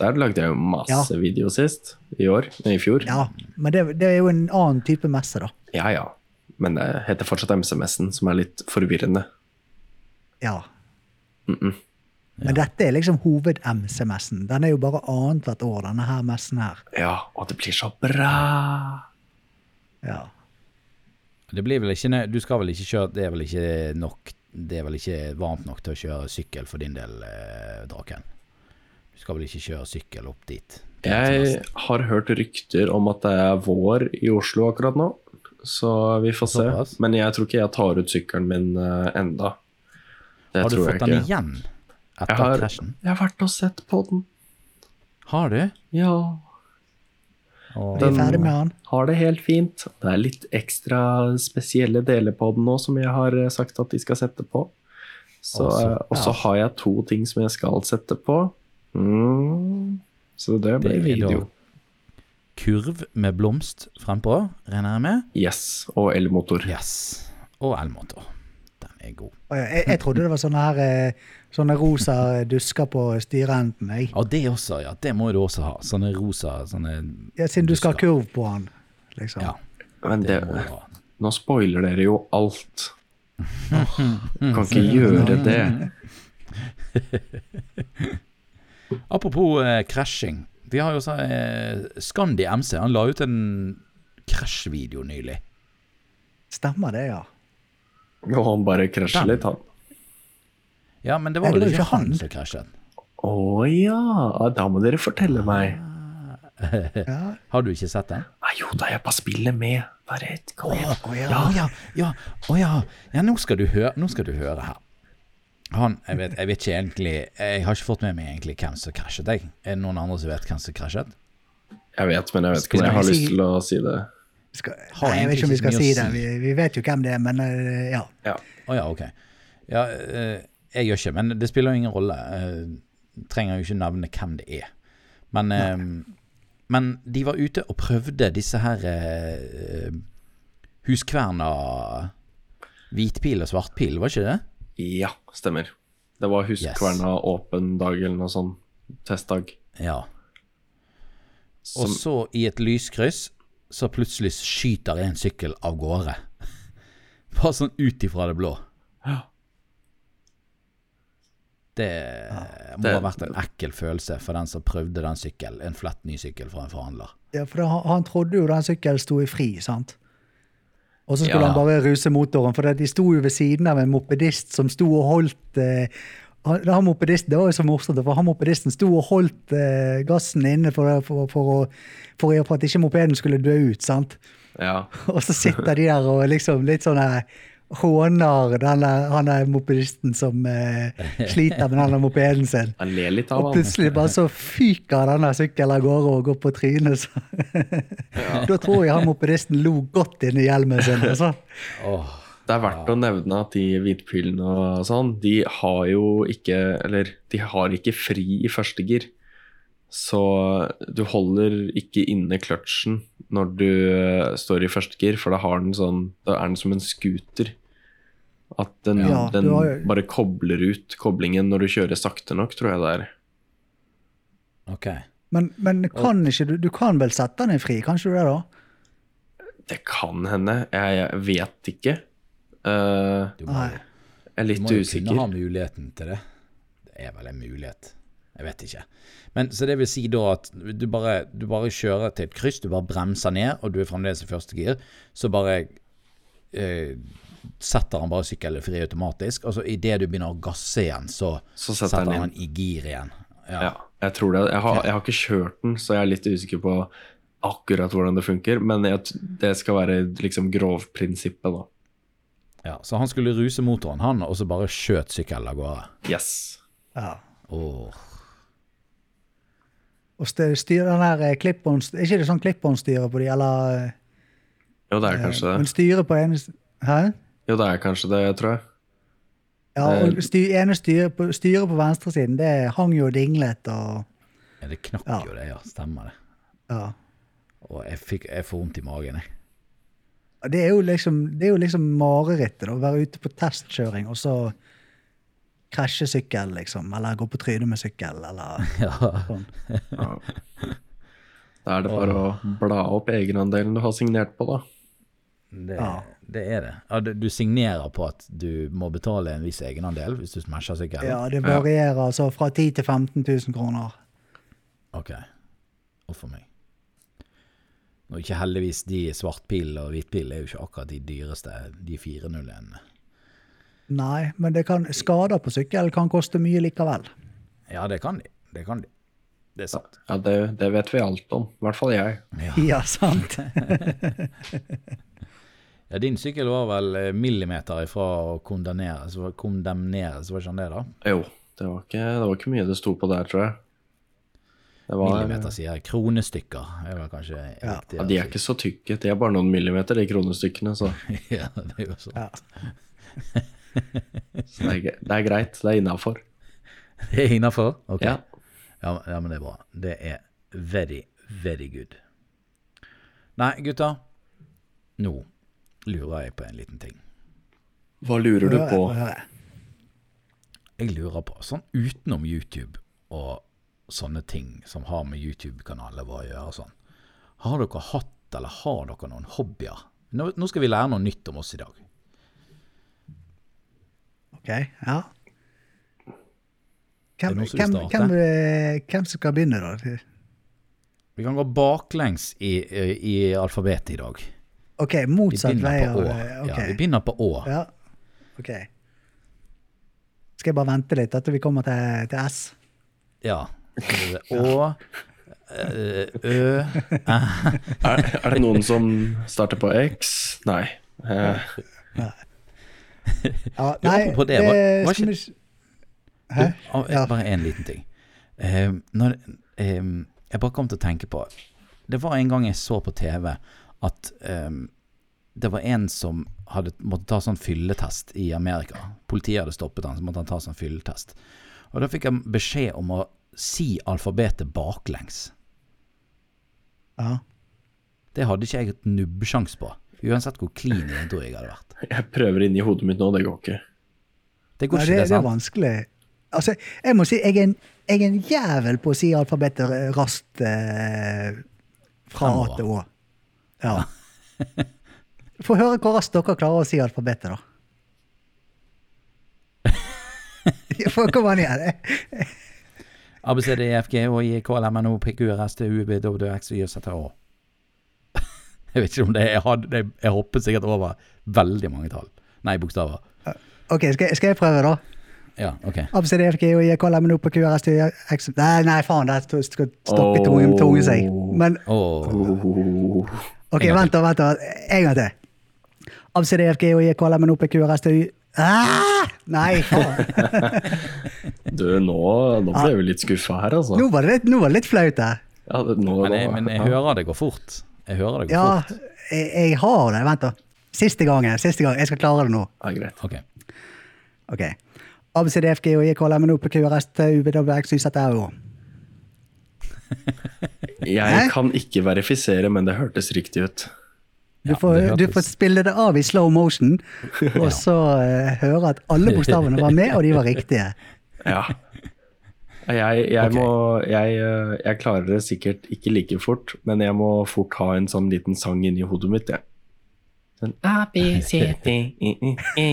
Der lagde jeg jo masse video sist. I år. nei, I fjor. ja. Men det, det er jo en annen type messe, da. ja. ja. Men det heter fortsatt MCMS-en, som er litt forvirrende. Ja. Men dette er liksom hoved-MC-messen. Den er jo bare annethvert år, denne her messen her. Ja, og det blir så bra! Ja. [LAUGHS] Det blir vel ikke, nø- du skal vel ikke kjøre Det er vel ikke nok Det er vel ikke varmt nok til å kjøre sykkel for din del, eh, Draken? Du skal vel ikke kjøre sykkel opp dit? Jeg har hørt rykter om at det er vår i Oslo akkurat nå, så vi får se. Såpass. Men jeg tror ikke jeg tar ut sykkelen min eh, enda. Det Har du tror fått jeg den ikke. igjen etter Jeg har, krasjen? jeg har vært og sett på den. Har du? Ja. Og, Vi er Den- ferdig med han. Har det helt fint. Det er litt ekstra spesielle deler på den nå som jeg har eh, sagt at de skal sette på. Å, Så, eh, og så har jeg to ting som jeg skal sette på. Mm. Så det det blir er da video. kurv med blomst frempå, regner jeg med? Yes. Og elmotor. Yes. Og elmotor. Den er god. Å ja, Jeg, jeg trodde det var sånne her eh, Sånne rosa dusker på styreenden. Jeg. Og det også, ja. Det må du også ha. Sånne rosa sånne Ja, siden du skal ha dusker. kurv på han. Liksom. Ja, Men det det, må du ha. Nå spoiler dere jo alt. Åh, kan ikke gjøre det. Apropos eh, krasjing. Vi har jo så, eh, Scandi MC han la ut en krasjvideo nylig. Stemmer det, ja. Og han bare krasjer Den. litt, han. Ja, men det Nei, var det vel var ikke ikke han han. som krasjet. Å ja, da må dere fortelle meg. ja. Har du ikke sett den? Nei, jo da, jeg bare spiller med. Bare et, kom igjen. Å ja. Å Ah, ja, ja, å ja. ja nå, skal du høre, nå skal du høre her. Han, jeg vet, jeg vet ikke egentlig Jeg har ikke fått med meg egentlig hvem som krasjet. Jeg. Er det noen andre som vet hvem som krasjet? Jeg vet, men jeg vet ikke om jeg har lyst til å si det. Skal, Har nei, jeg vet ikke om egentlig vi ikke skal så si mye å det. si. Vi, vi vet jo hvem det er, men eh, ja. Ja. Å ja, ok. Ja, eh, jeg gjør ikke, men det spiller jo ingen rolle. Eh, trenger jo ikke nevne hvem det er. Men, eh, men de var ute og prøvde disse her eh, huskverna Hvitpil og svartpil, var ikke det? ja, stemmer. Det var Huskverna åpen dag eller noe sånn. Testdag. Ja. Og Som, så i et lyskryss så plutselig skyter en sykkel av gårde. [LAUGHS] Bare sånn ut ifra det blå. Ja. Det må Det- ha vært en ekkel følelse for den som prøvde den sykkel, en flett ny sykkel fra en forhandler. ja for da, han- han trodde jo den sykkelen sto i fri, sant? Og så skulle Ja. han bare ruse motoren, for det- de sto jo ved siden av en mopedist som sto og holdt eh, han, han mopedisten, Det var jo så morsomt, for han mopedisten sto og holdt eh, gassen inne for, for, for, å- for, å- for at ikke mopeden skulle dø ut, sant? [LAUGHS] ja. Og så sitter de der og liksom litt sånn her håner den der, han der mopedisten som eh, sliter med den der mopeden sin. Jeg ler litt av Og han. plutselig bare så fyker den der sykkelen av gårde og går på trynet. Så. Da tror jeg han mopedisten lo godt inni hjelmen sin. Altså. Åh, Det er verdt å nevne at de hvitpylene og sånn, de har jo ikke Eller de har ikke fri i første gir. Så du holder ikke inne kløtsjen når du eh, står i første gir, for da har den sånn Da er den som en scooter. At den, Ja, den du har jo- bare kobler ut koblingen når du kjører sakte nok, tror jeg det er. ok. Men, men kan ikke du, du kan vel sette den i fri, kan ikke du det, da? Det kan hende. Jeg, jeg vet ikke. Eh, Du må, Nei. jeg er du litt må jo kunne usikker. ha muligheten til det. Det er vel en mulighet. Jeg vet ikke. Men Så det vil si da at du bare, du bare kjører til et kryss, du bare bremser ned, og du er fremdeles i første gir, så bare eh, setter han bare sykkelen fri automatisk, og så idet du begynner å gasse igjen, så, Så setter, setter den inn. han i gir igjen. Ja. Ja, jeg tror det. Jeg har, jeg har ikke kjørt den, så jeg er litt usikker på akkurat hvordan det funker. Men jeg, t- det skal være liksom grovprinsippet, da. Ja, så han skulle ruse motoren, han, og så bare skjøt sykkelen av gårde. Yes. Ja. Åh. Og st- styr den her eh, clip-on Er ikke det sånn clip-on-styre på de, eller eh, Jo, det er kanskje Men det. styret på ene Hæ? Jo, det er kanskje det, tror jeg. Ja, og Eh. sty, ene styret på, styret på venstresiden, det hang jo og dinglet og Ja, Det knakk Ja. jo, det. Ja, stemmer det. Ja. Og jeg, fikk, jeg får vondt i magen, jeg. Og Det er jo liksom, det er jo liksom marerittet, da. Å være ute på testkjøring, og så krasje sykkel, liksom. Eller gå på trynet med sykkel, [LAUGHS] eller Ja. sånn. Ja. Da er det bare å bla opp egenandelen du har signert på, da. Det, Ja. det er det. Ja, du, du signerer på at du må betale en viss egenandel hvis du smasher sykkelen? Ja, det varierer altså fra 10 000 til 15 000 kroner. Ok. Uff a meg. Og ikke heldigvis de svart pil og hvit pil er jo ikke akkurat de dyreste, de 401-ene. Nei, men det kan, skader på sykkel kan koste mye likevel. Ja, det kan de. Det kan de. Det er sant. Ja, det, det vet vi alt om. I hvert fall jeg. [LAUGHS] Ja. Ja, [LAUGHS] sant. Ja, din sykkel var vel eh, millimeter ifra å kondemneres, var- kondemneres, var ikke han det, da? Jo, det var ikke, det var ikke mye det sto på der, tror jeg. Det var, Millimeter, sier jeg. Kronestykker er vel kanskje Ja. riktig. ja, de er ikke så tykke. De er bare noen millimeter, de kronestykkene. Så, [LAUGHS] Ja, det er jo sånn. Ja. så det, er, gre- det er greit. Det er innafor. Det er innafor? Ok. Ja. Ja, men- ja, men det er bra. Det er very, very good. Nei, gutta. Nå lurer jeg på en liten ting. Hva lurer du Høre, på? høre. Jeg lurer på, sånn utenom YouTube og sånne ting som har med YouTube-kanaler våre å gjøre og sånn, har dere hatt eller har dere noen hobbyer? Nå, nå skal vi lære noe nytt om oss i dag. Ok, ja. Er det Hvem, noen som vil hvem, starte? hvem, eh, hvem som skal begynne, da? Vi kan gå baklengs i, i alfabetet i dag. OK, Vi motsatt vei. begynner på av- Å. eh, ok. Ja, vi begynner på Å. Ja, ok. Skal jeg bare vente litt etter vi kommer til, til S? [LAUGHS] Ja. Å, eh, Ø Er, er det noen som starter på X? Nei. Eh, Ja, Jo, apropos det, var- var eh, skal ikke- vi- Hæ? Du, ah, Ja. Bare en liten ting. Eh, når, eh, jeg bare kom til å tenke på Det var en gang jeg så på TV at eh, det var en som hadde måtte ta sånn fylletest i Amerika. Politiet hadde stoppet han, så måtte han ta sånn fylletest. Og da fikk han beskjed om å si alfabetet baklengs. Ja. Det hadde ikke jeg et nubbsjans på. Uansett hvor clean jeg tror jeg hadde vært. jeg prøver inni hodet mitt nå, det går ikke. Det går Nei, ikke, det, det, det er sant? vanskelig. Altså, jeg må si, jeg er en, jeg er en jævel på å si alfabetet r- raskt eh, fra A Fremover. til Å. Ja. Få høre hvor raskt dere klarer å si [LAUGHS] alfabetet, da. Få komme an igjen. Jeg- ABCD, EFG, HI, KLMNO, PQRS, TUB, WX, YZH. [LAUGHS] Jeg vet ikke om det Jeg, hadde, det- jeg hoppet sikkert over veldig mange tall. Nei, bokstaver. Ok, skal, jeg- skal jeg prøve, da? Ja, OK. ABCD, FG, og IK, lemmen opp på QRS, til X Nei, nei, faen, det sto- sto- stoppet tungen, tungen seg. Men Åh, Oh. En ok, gang vent da, vent da. En gang til. ABCD, FG, og IK, lemmen opp på QRS, til Y- Ah! Nei, faen. Du, nå, nå ble vi litt skuffa her, altså. Nå var det litt, nå var det litt flaut, det. Ja, det, nå, men, jeg, men eh, jeg ja. hører det går fort. Jeg hører det går Ja, fort. jeg, jeg har det. Vent, da. Siste gangen. Siste gang. Jeg skal klare det nå. Ja, greit. OK. Ok. ABCD, FG, og IK, lemmen opp på QRS, til UBWX, YZRO. Jeg Hæ? kan ikke verifisere, men det hørtes riktig ut. Du Ja, får, det du hørtes- får spille det av i slow [LAUGHS] motion, og så eh, høre at alle bokstavene var med, og de [LAUGHS] var riktige. Ja. Jeg, jeg, Ok. må, jeg, eh, jeg klarer det sikkert ikke like fort, men jeg må fort ha en sånn liten sang inni hodet mitt, jeg. Sånn A, B, C, D, E, E, E.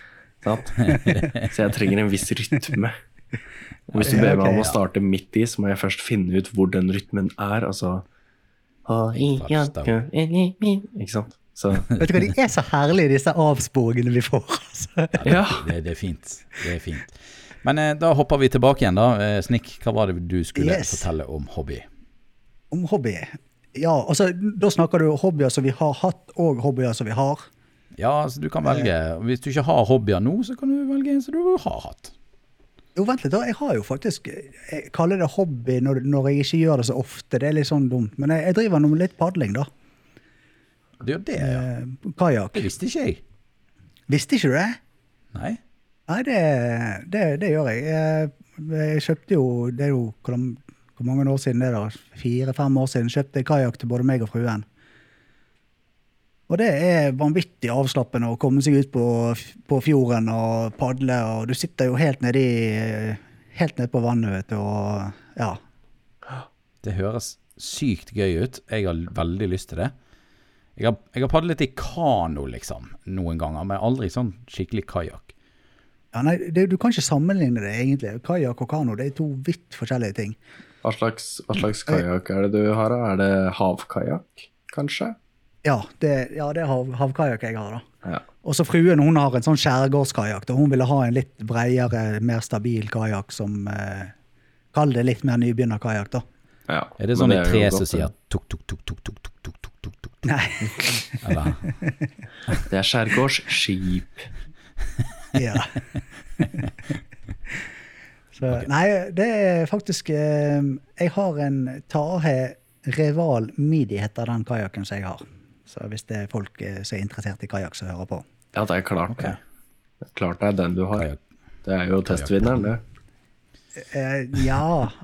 [LAUGHS] Sant? Så jeg trenger en viss rytme. Og hvis du Ja, ber meg ok, om ja. å starte midt i, så må jeg først finne ut hvor den rytmen er. Altså H, I, J, K, L, I, M. Ikke sant? Så Vet du hva, De er så herlige, disse avsporingene vi får. altså. ja. Det, det er fint. Det er fint. Men eh, da hopper vi tilbake igjen, da. Eh, Snikk, hva var det du skulle Yes. fortelle om hobby? Om hobby. Ja, altså, Da snakker du hobbyer som vi har hatt, og hobbyer som vi har. Ja, altså, du kan velge. Hvis du ikke har hobbyer nå, så kan du velge en som du har hatt. Jo, vent litt, da. Jeg har jo faktisk Jeg kaller det hobby når, når jeg ikke gjør det så ofte. Det er litt sånn dumt. Men jeg, jeg driver nå med litt padling, da. Det er jo det, ja. Eh, Kajakk. Det visste ikke jeg. Visste ikke du det? Nei. Nei, det, det, det gjør jeg. jeg. Jeg kjøpte jo Det er jo hvor, lang- hvor mange år siden det er da? Fire-fem år siden kjøpte jeg kajakk til både meg og fruen. Og det er vanvittig avslappende å komme seg ut på, f- på fjorden og padle, og du sitter jo helt nedi Helt nede på vannet, vet du, og ja. Det høres sykt gøy ut. Jeg har veldig lyst til det. Jeg har, jeg har padlet i kano, liksom, noen ganger, men aldri sånn skikkelig kajakk. ja nei, det, du kan ikke sammenligne det, egentlig. Kajakk og kano det er to vidt forskjellige ting. Hva slags, hva slags kajakk er det du har? da? Er det havkajakk, kanskje? Ja, det, ja, det er hav, havkajakk jeg har, da. Ja. Og så fruen hun har en sånn skjærgårdskajakk. da. Hun ville ha en litt bredere, mer stabil kajakk som eh, Kall det litt mer nybegynnerkajakk, da. ja. Er det Men sånn i jo tre godt, som det. sier tuk, tuk, tuk, tuk, tuk, tuk, tuk, tuk, tuk, tuk, Nei. eller Det er skjærgårdsskip. Ja. [LAUGHS] så, Nei, det er faktisk eh, Jeg har en Tahe Reval Midi, heter den kajakken som jeg har. Så hvis det er folk eh, som er interessert i kajakk, som hører på. Ja, det er klart det. Det er klart det er den du har. kajakk? Det er jo testvinneren, det. Eh, ja,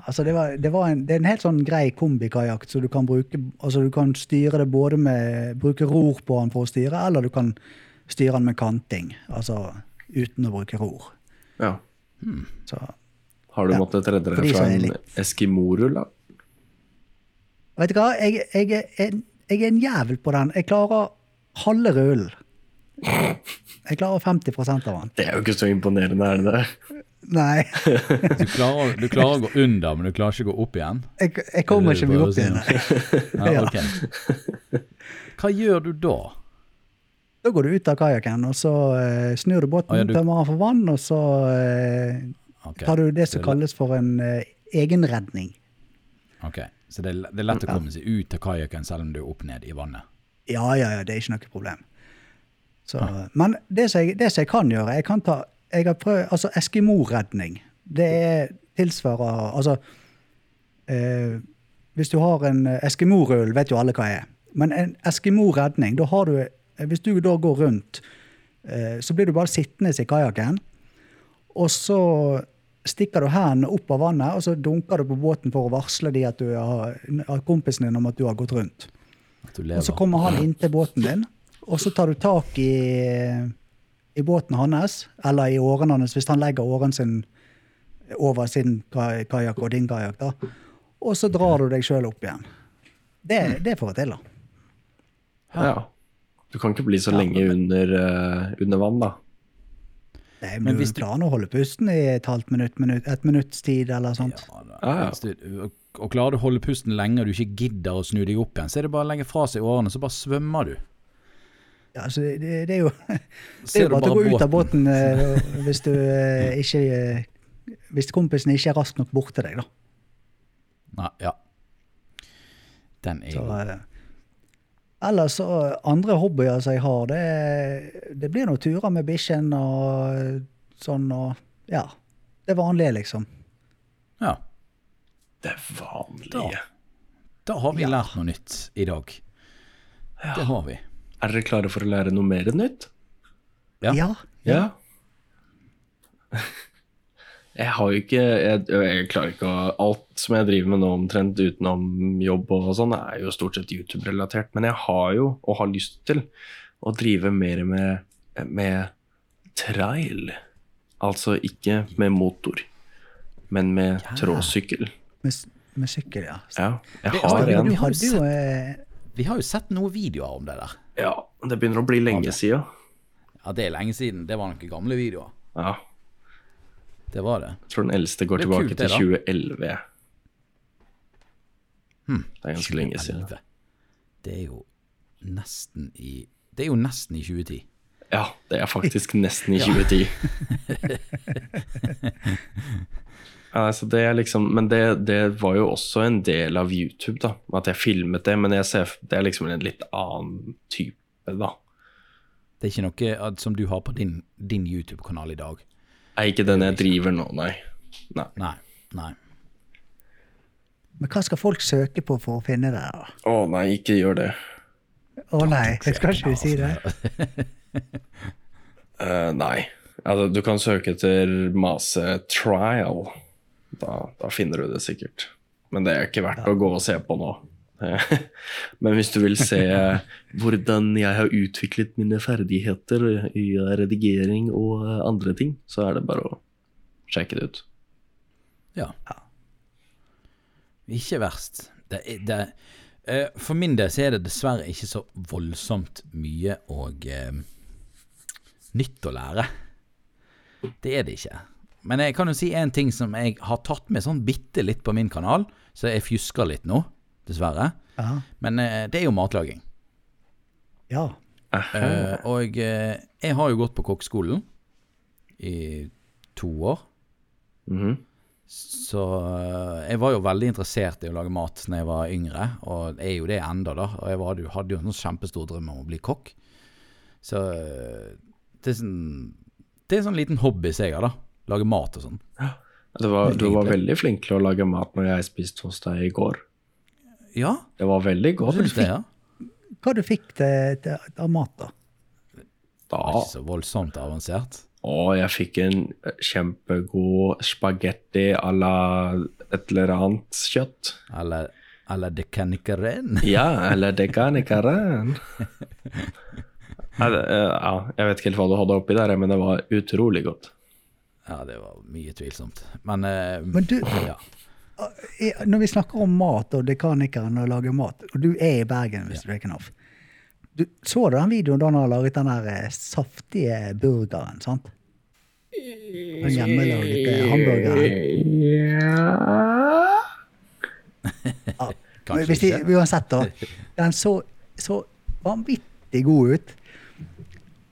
altså det, var, det, var en, det er en helt sånn grei kombikajakk. Så du kan bruke altså du kan styre det både med bruke ror på den for å styre, eller du kan styre den med kanting. Altså uten å bruke ror. Ja. Så Har du Ja. måttet redde For deg de fra som er en litt- eskimorull, da? vet du hva, jeg, jeg, er en- jeg er en jævel på den. Jeg klarer halve rullen. Jeg klarer 50 av den. Det er jo ikke så imponerende, er det det? Nei, Du klarer, du klarer å gå under, men du klarer ikke å gå opp igjen? jeg, jeg kommer ikke meg opp igjen. Ja, [LAUGHS] Ja. ok. Hva gjør du da? Da går du ut av kajakken, og så eh, snur du båten, Å, Ah, ja, du- tømmer den for vann, og så eh, Ok. tar du det som kalles for en eh, egenredning. Ok, Så det er, det er lett å komme seg ut av kajakken selv om du er opp ned i vannet? Ja, ja, ja, det er ikke noe problem. Så, Men det som, jeg, det som jeg kan gjøre Jeg kan ta jeg har prøvd, altså Eskimo-redning. Det er, tilsvarer Altså eh, Hvis du har en eh, Eskimo-rull, vet jo alle hva er. Men en Eskimo-redning, da har du eh, Hvis du da går rundt, eh, så blir du bare sittende i kajakken. Og så stikker du hendene opp av vannet, og så dunker du på båten for å varsle de at du har, at kompisen din om at du har gått rundt. At du Og så lever? kommer han inntil båten din, og så tar du tak i, i båten hans, eller i åren hans, hvis han legger åren sin over sin ka- kajakk og din kajakk, da. Og så drar du deg sjøl opp igjen. Det, det får jeg til, da. Ja. Du kan ikke bli så lenge under, eh, under vann, da. Det, Men men hvis hvis du klarer å holde pusten i et halvt minutt, minutt et minutts tid eller sånt. Ja, da. Ja, ja. Hvis du- Altså, og- Og klarer du å holde pusten lenge og du ikke gidder å snu deg opp igjen, så er det bare å legge fra seg årene, så bare svømmer du. Ja, så det, det, det er jo [LAUGHS] det Ser er du jo bare bare å gå ut av båten. båten eh, hvis du eh, ikke eh, Hvis kompisen ikke er raskt nok borte deg, da. Nei, ja. Den er Så, god. eh, ellers så eh, andre hobbyer som jeg har, det, er- det blir noen turer med bikkjen og eh, sånn og Ja. Det vanlige, liksom. Ja. Det er vanlige. Da har vi Ja. lært noe nytt i dag. Det har vi. Er dere klare for å lære noe mer nytt? Ja. Ja. Ja. [LAUGHS] Jeg har jo ikke jeg, jeg klarer ikke å Alt som jeg driver med nå omtrent utenom jobb og sånn, er jo stort sett YouTube-relatert. Men jeg har jo, og har lyst til, å drive mer med, med trail. Altså ikke med motor, men med tråsykkel. Med, s- med sykkel, ja. Ja, jeg Det- har Ja, Du en. har hadde jo eh, Vi har jo sett noen videoer om det der. Ja, det begynner å bli lenge siden Ja, det er lenge siden. Det var noen gamle videoer. Ja, Det var det. jeg tror den eldste går Det er tilbake kult, det, til da. 2011. Det er ganske lenge siden. Helvete. Det er jo nesten i Det er jo nesten i 2010. Ja, det er faktisk [LAUGHS] nesten i 2010. Ja, så det er liksom, men det, det var jo også en del av YouTube, da. At jeg filmet det, men jeg ser, det er liksom en litt annen type, da. Det er eh, ikke noe at- som du har på din, din YouTube-kanal i dag. Nei, ikke den jeg driver nå, nei. Nei. Nei. nei. Men hva skal folk søke på for å finne det? da? Å nei, ikke gjør det. Å nei, jeg skal ikke si det. Eh, nei. Altså, du kan søke etter masetrial. Da, da finner du det sikkert. Men det er ikke verdt å gå og se på nå. Eh, [LAUGHS] Men hvis du vil se hvordan jeg har utviklet mine ferdigheter i redigering og eh, andre ting, så er det bare å sjekke det ut. Ja. Ikke verst. Det, er- det, eh, for min del så er det dessverre ikke så voldsomt mye og eh, nytt å lære. Det er det ikke. Men jeg kan jo si en ting som jeg har tatt med sånn bitte litt på min kanal, så jeg fjusker litt nå, dessverre. Ja. Men eh, det er jo matlaging. ja. Eh, og eh, jeg har jo gått på kokkeskolen i to år. Mhm. Så eh, jeg var jo veldig interessert i å lage mat når jeg var yngre, og jeg er jo det enda da. Og jeg var, hadde jo en sånn kjempestor drøm om å bli kokk. Så eh, det er sånn Det er sånn liten hobby som jeg har, da. Lage mat og sånn. Det var, du var veldig flink til å lage mat når jeg spiste hos deg i går. Ja, Det var veldig jeg godt. synes det, ja. Hva du fikk til, til, av mat, da? Da, Det var ikke så voldsomt avansert. og jeg fikk en eh, kjempegod spagetti à la et eller annet kjøtt. Eller, eller det kan ikke renne. Ja, eller det kan ikke være. Nei, det, eh, Ja, jeg vet ikke helt hva du hadde oppi der, men det var utrolig godt. Ja, det var mye tvilsomt. Men, eh, Men du- ja. I- Når vi snakker om mat og dekanikeren og lager mat, og du er i Bergen hvis du er knaff du, Så du den videoen da han har laget den der eh, saftige burgeren, sant? Eh, Den hjemmelagde hamburgeren. Ja. Kanskje Hvis de, ikke. uansett, da. Den så, så vanvittig god ut.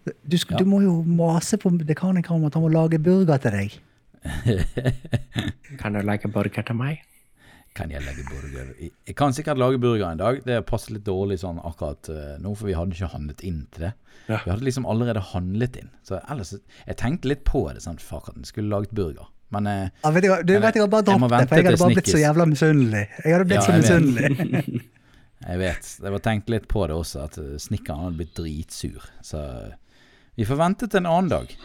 Du, sk- du må jo mase på dekanikeren om at han må lage burger til deg. Kan du lage burger til meg? kan jeg lage burger i Jeg kan sikkert lage burger en dag. Det passer litt dårlig sånn akkurat eh, nå, for vi hadde ikke handlet inn til det. Ja. Vi hadde liksom allerede handlet inn. Så ellers Jeg tenkte litt på det, sånn fuck at en skulle laget burger. Men eh, Ja, vet du, hva, du Men vet jeg har bare jeg må droppet vente det, for jeg hadde til bare blitt så Snickers. jævla misunnelig. Jeg hadde blitt Ja, så jeg vet. misunnelig. jeg vet Jeg var tenkt litt på det også, at eh, snekkeren hadde blitt dritsur. Så eh, vi får vente til en annen dag.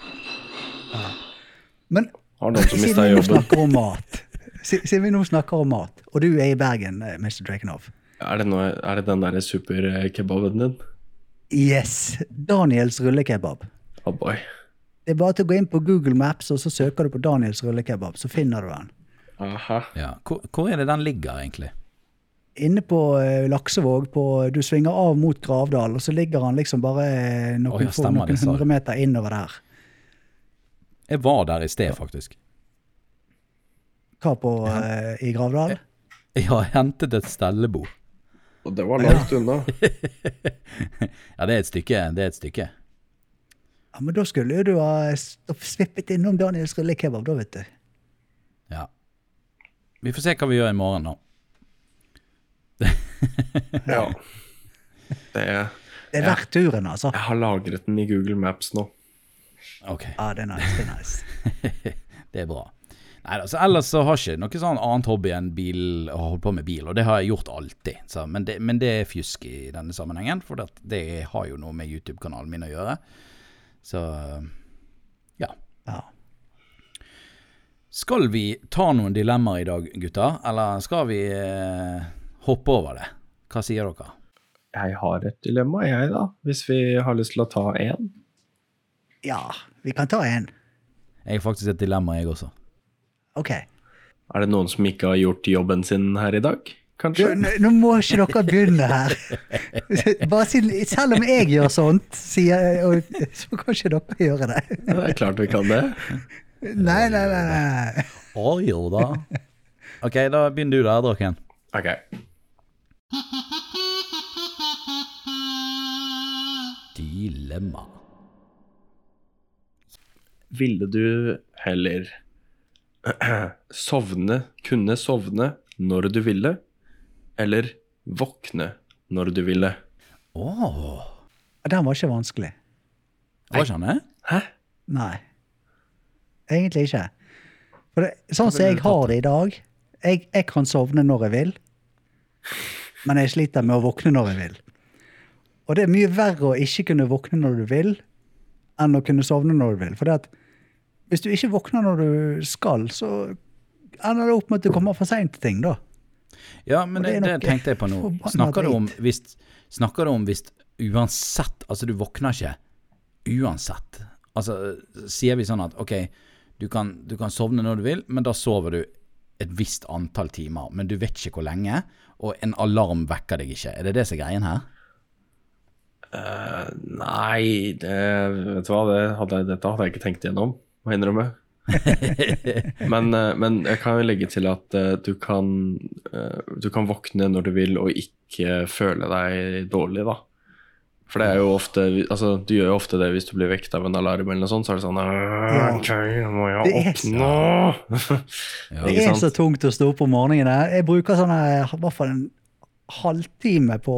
Men Har noen som mista siden vi nå jobben? snakker om mat, si- siden vi nå snakker om mat, og du er i Bergen, eh, Mr. Drakenhoff Er det, noe, er det den derre superkebaben din? Yes! Daniels rullekebab. Oh boy. Det er bare til å gå inn på Google Maps, og så søker du på Daniels rullekebab, så finner du den. Aha. Ja. Hvor, hvor er det den ligger, egentlig? Inne på eh, Laksevåg, på, du svinger av mot Gravdal, og så ligger han liksom bare eh, Å, noen, ja, få- stemmer noen det, sa du. hundre meter innover der. Jeg var der i sted, faktisk. Hva på eh, i Gravdal? Jeg har hentet et stellebo. Og det var langt unna. Ja, det er et stykke. Det er et stykke. Ja, men da skulle jo du ha stopp- svippet innom Daniels rullekebab, da, vet du. Ja. Vi får se hva vi gjør i morgen, da. Ja. Det, jeg Det er verdt turen, altså. har lagret den i Google Maps nå. Ok, Ja, det er nice. det er nice. [LAUGHS] det er bra. Neida, så ellers så har jeg ikke noe sånn annet hobby enn bil, å holde på med bil, og det har jeg gjort alltid. Så, men, det, men det er fjusk i denne sammenhengen, for det, det har jo noe med YouTube-kanalen min å gjøre. Så ja. Ja. Skal vi ta noen dilemmaer i dag, gutter, eller skal vi eh, hoppe over det? Hva sier dere? Jeg har et dilemma, jeg, da. Hvis vi har lyst til å ta én. ja, vi kan ta en. Jeg har faktisk et dilemma, jeg også. OK. Er det noen som ikke har gjort jobben sin her i dag? Du, Kanskje? n- nå må ikke dere begynne her. [LAUGHS] Bare siden, selv om jeg gjør sånt, sier, jeg- og, så kan ikke dere gjøre det. Det er klart vi kan det. Nei, nei, nei. nei. Å jo da. [LAUGHS] Ok, da begynner du der, Draken. Ok. Dilemma. Ville du heller [CLEARS THROAT] sovne, kunne sovne når du ville, eller våkne når du ville? Åh. Den var ikke vanskelig. Var ikke han eh? det? Hæ? Nei. Egentlig ikke. For For det, sånn som jeg har det i dag jeg, jeg kan sovne når jeg vil, men jeg sliter med å våkne når jeg vil. Og det er mye verre å ikke kunne våkne når du vil, enn å kunne sovne når du vil. For det at hvis du ikke våkner når du skal, så ender det opp med at du kommer for seint til ting, da. Ja, men Og det det, er det nok tenkte jeg på nå. forbanna Snakker du om drit. hvis, snakker du om hvis uansett Altså, du våkner ikke uansett. Altså, sier vi sånn at OK, du kan, du kan sovne når du vil, men da sover du et visst antall timer. Men du vet ikke hvor lenge, og en alarm vekker deg ikke. Er det det som er greien her? [LAUGHS] Eh, nei, det, vet du hva, det hadde, jeg- dette hadde jeg ikke tenkt igjennom, må jeg innrømme. men, eh, men jeg kan jo legge til at eh, du kan, eh, du kan våkne når du vil og ikke føle deg dårlig, da. For det er jo ofte, altså, du gjør jo ofte det hvis du blir vekket av en alarm eller noe sånt, så er det sånn Ja. «Åh, OK, nå må Det jeg er opp [LAUGHS] nå! Ja. Det Ikke er så sant? tungt å stå opp om morgenen. her. Jeg bruker sånn her, i hvert fall en halvtime på,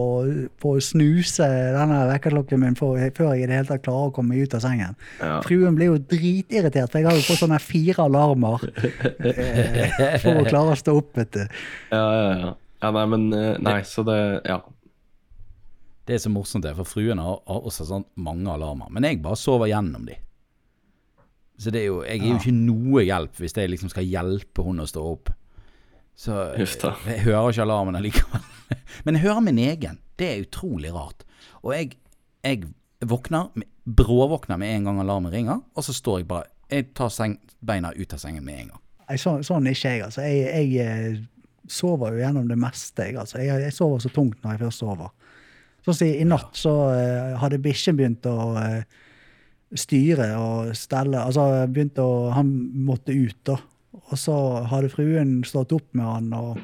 på å snuse denne vekkerklokken min for, før jeg i det hele tatt klarer å komme meg ut av sengen. Ja. Fruen blir jo dritirritert, for jeg har jo fått sånne fire alarmer [LAUGHS] eh, for å klare å stå opp. vet du. Ja, ja, ja. ja nei, men eh, Nei, så det Ja. Det er så morsomt, det, for fruen har, har også sånn mange alarmer. Men jeg bare sover gjennom de. Så det er jo, jeg er jo ikke noe hjelp hvis jeg liksom skal hjelpe hun å stå opp. Så Huff da. jeg hører ikke alarmen allikevel. [LAUGHS] Men jeg hører min egen. Det er utrolig rart. Og jeg, jeg våkner, bråvåkner med en gang alarmen ringer, og så står jeg bare Jeg tar seng, beina ut av sengen med en gang. Nei, Sånn, sånn er ikke jeg, altså. Jeg, jeg eh, sover jo gjennom det meste. Jeg, altså. jeg, jeg sover så tungt når jeg først sover. Sånn som i- I natt så eh, hadde bikkjen begynt å eh, styre og stelle. Altså begynt å Han måtte ut, da. Og så hadde fruen stått opp med han, og,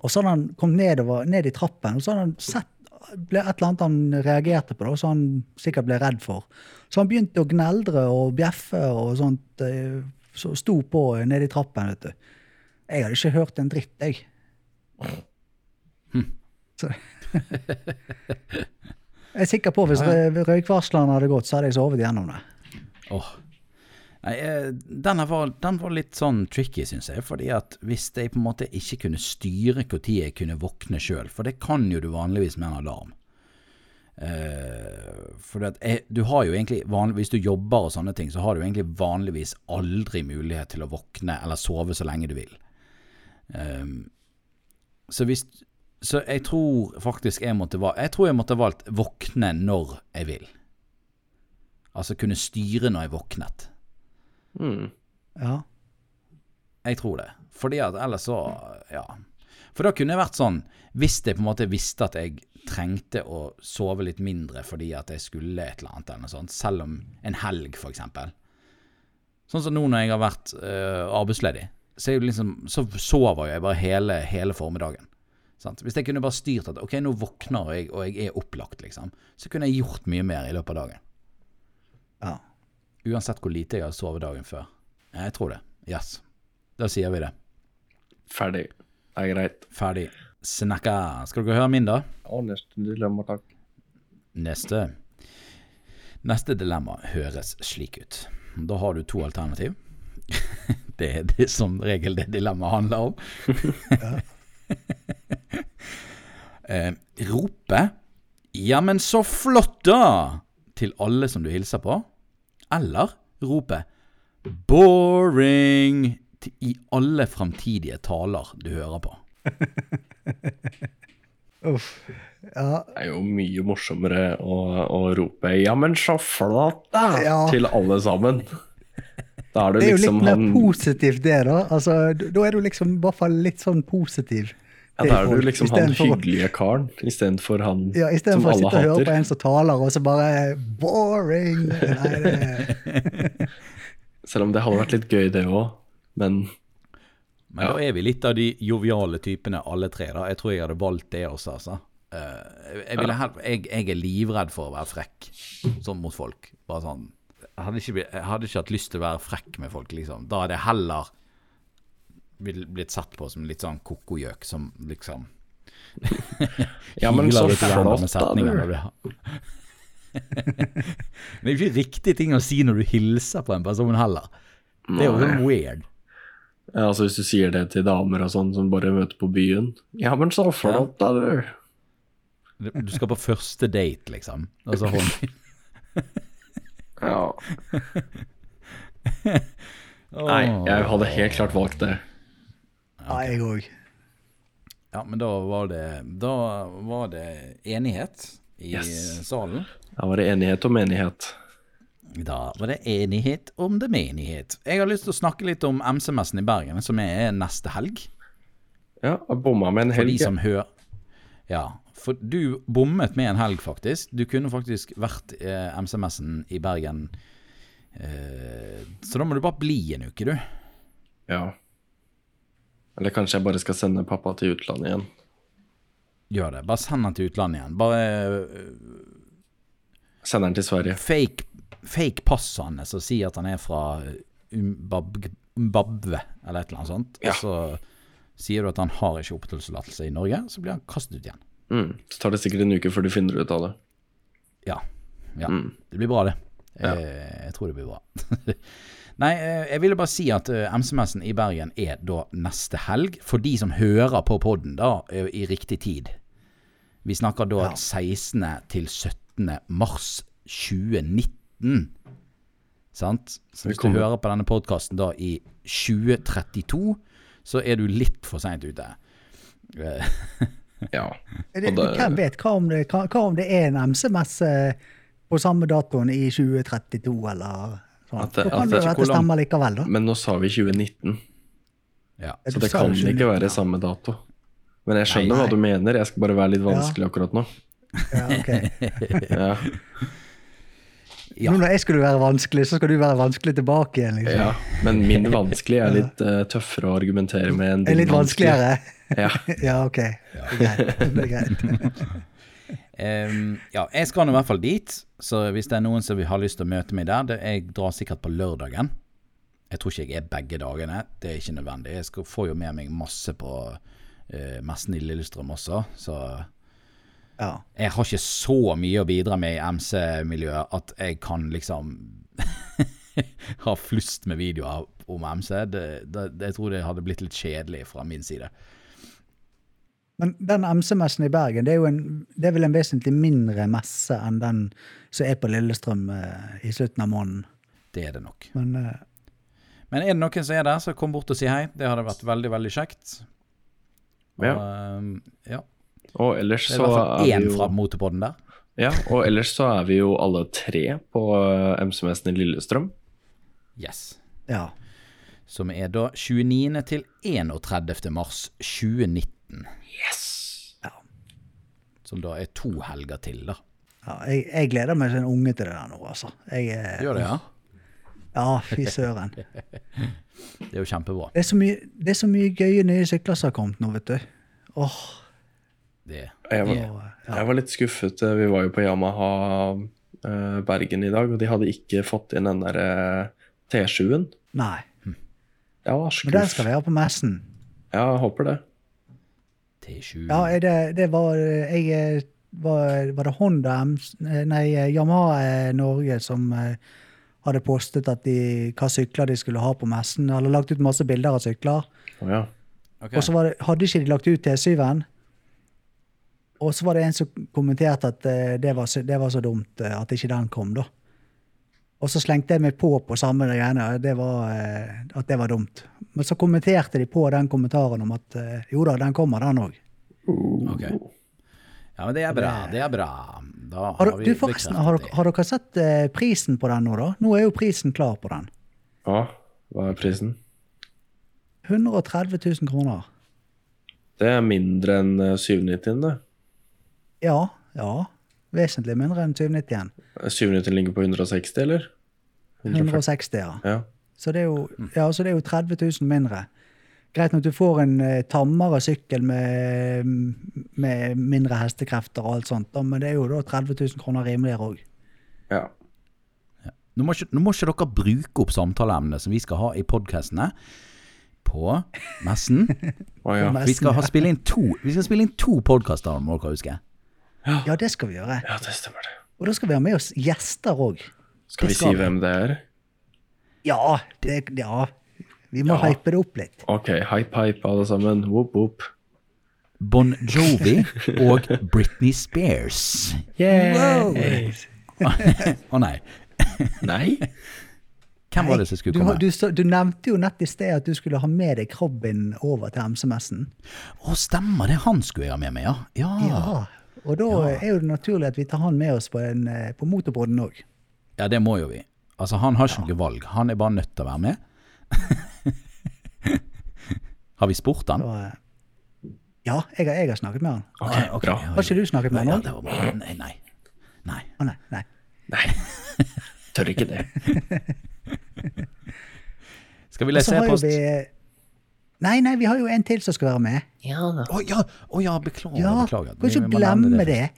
og så hadde han kommet nedover, ned i trappen, og så hadde han sett ble et eller annet han reagerte på, da, som han sikkert ble redd for. Så han begynte å gneldre og bjeffe og sånt. eh, Så sto på nede i trappen, vet du. Jeg hadde ikke hørt en dritt, jeg. Så. Jeg er sikker på hvis rø- røykvarsleren hadde gått, så hadde jeg sovet gjennom det. Åh. Nei, eh, den, her var, den var litt sånn tricky, syns jeg. Fordi at hvis jeg på en måte ikke kunne styre når jeg kunne våkne sjøl, for det kan jo du vanligvis med en alarm. Eh, for det at jeg, du har jo egentlig vanlig, Hvis du jobber og sånne ting, så har du egentlig vanligvis aldri mulighet til å våkne eller sove så lenge du vil. Ehm, så hvis Så jeg tror faktisk jeg måtte valgt Jeg tror jeg måtte valgt våkne når jeg vil. Altså kunne styre når jeg våknet. Mm. Ja. Jeg tror det. Fordi at ellers så Ja. For da kunne det vært sånn, hvis jeg på en måte visste at jeg trengte å sove litt mindre fordi at jeg skulle et eller annet, eller noe sånt, selv om en helg, for eksempel. Sånn som nå når jeg har vært øh, arbeidsledig, så, er jeg liksom, så sover jeg bare hele, hele formiddagen. Sant? Hvis jeg kunne bare styrt at ok, nå våkner jeg, og jeg er opplagt, liksom, så kunne jeg gjort mye mer i løpet av dagen. ja. Uansett hvor lite jeg har sovet dagen før. Jeg tror det. Yes. Da sier vi det. Ferdig. Det er greit. Ferdig. Snakka. Skal dere høre min, da? Og neste dilemma, takk. Neste. Neste dilemma høres slik ut. Da har du to alternativ. [LAUGHS] Det er det som regel det dilemmaet handler om. [LAUGHS] eh, rope 'Jammen så flott, da!' til alle som du hilser på. Eller rope 'boring' til- i alle fremtidige taler du hører på. Uff. Ja. Det er jo mye morsommere å, å rope 'ja, men så flott', da! Ja. til alle sammen. Da er du Det er jo liksom litt mer han positivt, det, da. Altså, d- da er du liksom i hvert fall litt sånn positiv. ja, Da er du til folk, liksom han istedenfor å- hyggelige karen istedenfor han Ja, som Istedenfor å alle sitte og høre på hater. en som taler, og så bare Boring! Nei, det, Selv om det hadde vært litt gøy, det òg. Men Men da er vi litt av de joviale typene, alle tre. da. Jeg tror jeg hadde valgt det også, altså. Eh, jeg, ville hel- jeg, jeg er livredd for å være frekk sånn mot folk. Bare sånn. Jeg hadde ikke, blitt- jeg hadde ikke hatt lyst til å være frekk med folk, liksom. Da hadde jeg heller vil- blitt sett på som litt sånn kokogjøk som liksom Ja, men så hyler litt grann med flott, da, setninger du. når [LAUGHS] Det er jo ikke riktig ting å si når du hilser på en person heller. Det er jo sånn weird. Ja, altså Hvis du sier det til damer og sånn som bare møter på byen Ja, men så flott, da, du. Du skal på første date, liksom. Og så hånd. Ja. Åh. Nei, jeg hadde helt klart valgt det. Ja, jeg òg. Ja, men da var det, da var det enighet i Yes. salen. Da var det enighet om enighet. Da var det enighet om det menighet. Jeg har lyst til å snakke litt om MC-messen i Bergen, som er neste helg. Ja, jeg bomma med en For de helg. som hører Ja, for du bommet med en helg, faktisk. Du kunne faktisk vært eh, MC-messen i Bergen. Eh, så da må du bare bli en uke, du. Ja. Eller kanskje jeg bare skal sende pappa til utlandet igjen. Gjør det. Bare send den til utlandet igjen. Bare eh, Sender den til Sverige. fake, fake passet hans og si at han er fra Umbab- Umbabwe eller et eller annet sånt. Og Ja. så sier du at han har ikke oppholdstillatelse i Norge, så blir han kastet ut igjen. Mm. Så tar det sikkert en uke før du finner ut av det. Ja. ja. Mm. Det blir bra, det. Ja. Eh, jeg tror det blir bra. [LAUGHS] Nei, eh, jeg ville bare si at eh, MC-messen i Bergen er da neste helg, for de som hører på podden da, eh, i riktig tid. Vi snakker da 16. til 17. mars 2019. Sant? Så hvis du kommer. hører på denne podkasten da i 2032, så er du litt for seint ute. Eh, [LAUGHS] Ja. Er det- Og da- Hvem vet hva om, det, hva, hva om det er en MC-messe på samme datoen i 2032 eller sånn? At det- da at kan det- det jo at hvor det lang- stemmer likevel, da. Men nå sa vi 2019, ja. så det kan ikke være samme dato. Men jeg skjønner Nei, nei. hva du mener, jeg skal bare være litt Ja. vanskelig akkurat nå. Ja, [LAUGHS] ok. Ja, Ja. Nå når jeg skulle være vanskelig, så skal du være vanskelig tilbake igjen. liksom. ja. Men min vanskelig er litt eh, tøffere å argumentere med enn Er litt vanskeligere? Ja. [LAUGHS] Ja, ok. Det er greit. Det er greit. Ehm, ja, jeg skal nå i hvert fall dit, så hvis det er noen som vil- har lyst til å møte meg der det, Jeg drar sikkert på lørdagen. Jeg tror ikke jeg er begge dagene, det er ikke nødvendig. Jeg skal, får jo med meg masse på eh, messen i Lillestrøm også, så Ja. jeg har ikke så mye å bidra med i MC-miljøet at jeg kan liksom [LAUGHS] ha flust med videoer om MC. Det, det, jeg tror det hadde blitt litt kjedelig fra min side. Men den MC-messen i Bergen, det er, jo en, det er vel en vesentlig mindre messe enn den som er på Lillestrøm eh, i slutten av måneden. Det er det nok. Men eh, Men er det noen som er der, så kom bort og si hei. Det hadde vært veldig, veldig kjekt. Og, Ja. ehm, ja. Og ellers Det er i så hvert fall er én vi jo fra motorpodden der. Ja, og ellers så er vi jo alle tre på eh, MC-messen i Lillestrøm. Yes. ja. Som er da 29. til 31. mars 2019. Yes! ja. Som da er to helger til, da. ja jeg, jeg gleder meg som en unge til det der nå, altså. Jeg, eh, Gjør det, ja? Ja, fy [LAUGHS] søren. Det er jo kjempebra. Det er så mye, det er så mye gøye nye sykler som har kommet nå, vet du. Åh, Det. Jeg var, Ja. jeg var litt skuffet. eh, Vi var jo på Yamaha eh, Bergen i dag, og de hadde ikke fått inn den der eh, T7-en. nei. Jeg var Men den skal skuffet. være på messen. Ja, jeg håper det. T20. Ja, er det, det var jeg, eh, var, var det Honda M- Nei, eh, Yamaha eh, Norge som eh, hadde postet at de, hva sykler de skulle ha på messen. Eller lagt ut masse bilder av sykler. Å ja. Ok. Og så var det, hadde ikke de lagt ut T7-en. Og så var det en som kommenterte at eh, det var, så- det var så dumt eh, at ikke den kom, da. Og så slengte jeg meg på på samme greiene, og det var, eh, at det var dumt. Men så kommenterte de på den kommentaren om at eh, jo da, den kommer, den òg. Ok. Ja, men det er bra. Det er bra. Da Har, har du- vi du, forresten, har, dere- bekreftet det. har dere sett eh, prisen på den nå, da? Nå er jo prisen klar på den. ja. Hva er prisen? 130 000 kroner. Det er mindre enn eh, 790, det. Ja, ja. Vesentlig mindre enn 790 igjen. Eh, 790 ligger på 160, eller? 160, ja. Ja. Så det er jo, ja, så det er jo 30 000 mindre. Greit nok du får en eh, tammere sykkel med, med mindre hestekrefter og alt sånt, da, men det er jo da 30 000 kroner rimeligere òg. ja. Nå må, ikke, nå må ikke dere bruke opp samtaleemnet som vi skal ha i podkastene på [LAUGHS] messen. Å ja. Vi skal ha, spille inn to, vi skal spille inn to podkaster, må dere huske. Ja, det skal vi gjøre. ja, det stemmer det. Og da skal vi ha med oss gjester òg. Skal Det vi skal si vi. hvem det er? Ja, det, ja. Vi må Ja. hype det opp litt. Ok, hype, hype, alle sammen. Whoop, whoop. Bon Jovi og Britney Spears. Wow! Å nei, Nei? hvem var det som skulle du, har- komme? du, sa- du nevnte jo nett i sted at du skulle ha med deg Robin over til MCMS-en. Å, stemmer det, han skulle jeg ha med meg, ja. Ah. Ja, Ja. Og da er jo det naturlig at vi tar han med oss på, en, eh, på motorbåten òg. ja det må jo vi. Altså, han har ikke noe valg. Han er bare nødt til å være med. [LAUGHS] har vi spurt han? eh, Ja, jeg har, jeg har snakket med han. Ok, Ah, ok, bra. ja, Har ikke du snakket med han Ja, òg? det var bra. Nei, nei. Nei. Å nei, nei. Nei. Tør ikke det. Skal vi Og så lese har jo e-post? vi eh, Nei, nei, vi har jo en til som skal være med. Å ja, å ja, beklager. Ja, beklager. Kan Vi ikke må nevne glemme først. det.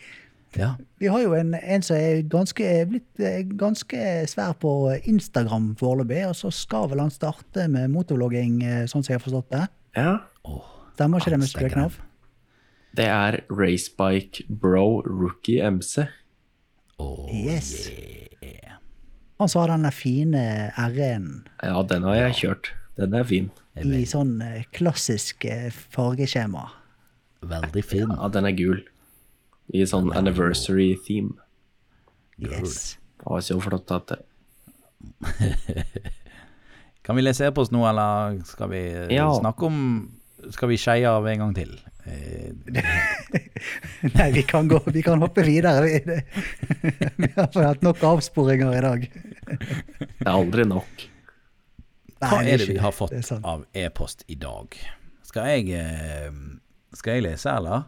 Ja. Vi har jo en, en som er ganske, er blitt eh, ganske svær på Instagram foreløpig, og så skal vel han starte med motorvlogging, eh, sånn som jeg har forstått det. Ja. Åh, Stemmer ikke det med Instagram. Spøknav? Det er Racebike Bro Rookie MC. åh, Yes. Han sa den der fine R-en Ja, den har jeg kjørt. Den er fin. i sånn eh, klassisk eh, fargeskjema. veldig fin. Ja, den er gul. I sånn anniversary theme. Yes. [LAUGHS] Det var så flott at det- Kan vi lese e-post nå, eller skal vi eh, Ja. snakke om Skal vi skeie av en gang til? Eh, Nei, vi kan, gå, vi kan hoppe videre. Vi, det- [LAUGHS] vi har fått hatt nok avsporinger i dag. Det er aldri nok. hva Nei, er det ikke- vi har det er fått sant. av e-post i dag? Skal jeg eh, Skal jeg lese, eller?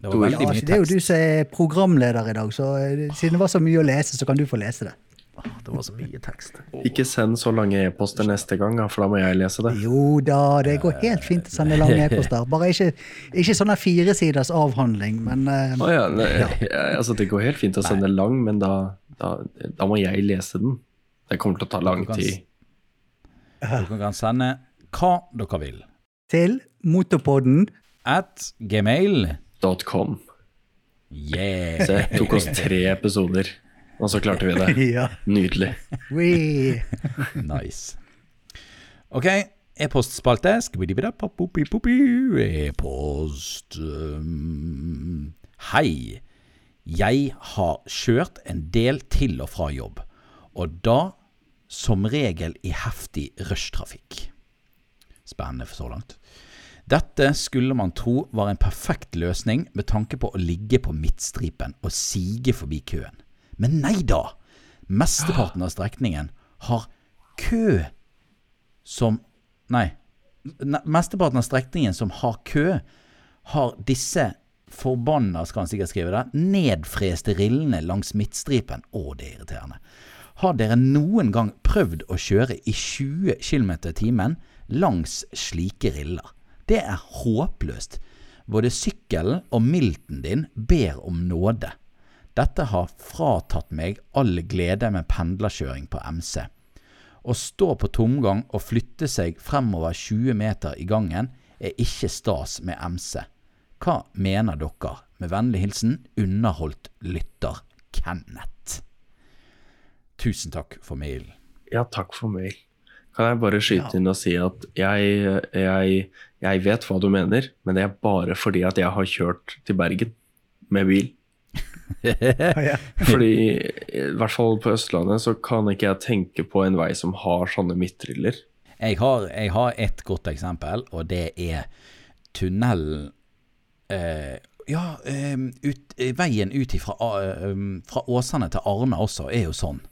Det var Du- veldig Ja, altså, mye det er jo tekst. du som er programleder i dag, så eh, siden det var så mye å lese, så kan du få lese det. Det var så mye tekst. Ikke send så lange e-poster neste gang, da, for da må jeg lese det. Jo da, det går helt fint å Eh. sende [LAUGHS] lange e-poster. Bare ikke, ikke sånn sånne firesiders avhandling, men eh, Å ja, nei, [LAUGHS] ja, altså Det går helt fint å sende lang, men da, da, da må jeg lese den. Det kommer til å ta lang Du kan s- tid. Dere kan sende hva dere vil. til Motorpodden. At gmail. Dot .com. Yeah. Så det tok oss tre episoder, og så klarte vi [LAUGHS] det. [LAUGHS] Ja. Nydelig. We. Nice. Ok, e-postspalte. Skubidibidapapopipopip. E-post um, Hei. Jeg har kjørt en del til og fra jobb, og da som regel i heftig rushtrafikk. Spennende for så langt. Dette skulle man tro var en perfekt løsning med tanke på å ligge på midtstripen og sige forbi køen. Men nei da! Mesteparten av strekningen har kø som Nei. Ne- Mesteparten av strekningen som har kø, har disse forbanna, skal han sikkert skrive det, nedfreste rillene langs midtstripen. Å, det er irriterende. Har dere noen gang prøvd å kjøre i 20 km i timen langs slike riller? Det er håpløst. Både sykkelen og milten din ber om nåde. Dette har fratatt meg all glede med pendlerkjøring på MC. Å stå på tomgang og flytte seg fremover 20 meter i gangen er ikke stas med MC. Hva mener dere? Med vennlig hilsen underholdt lytter Kenneth. Tusen takk for mailen. Ja, takk for mail. Kan jeg bare skyte inn og si at jeg, jeg, jeg vet hva du mener, men det er bare fordi at jeg har kjørt til Bergen med bil. Ja. Fordi i hvert fall på Østlandet så kan ikke jeg tenke på en vei som har sånne midtriller. Jeg har, jeg har et godt eksempel, og det er tunnelen eh, Ja, eh, ut, eh, veien ut ifra, eh, um, fra Åsane til Arna også er jo sånn.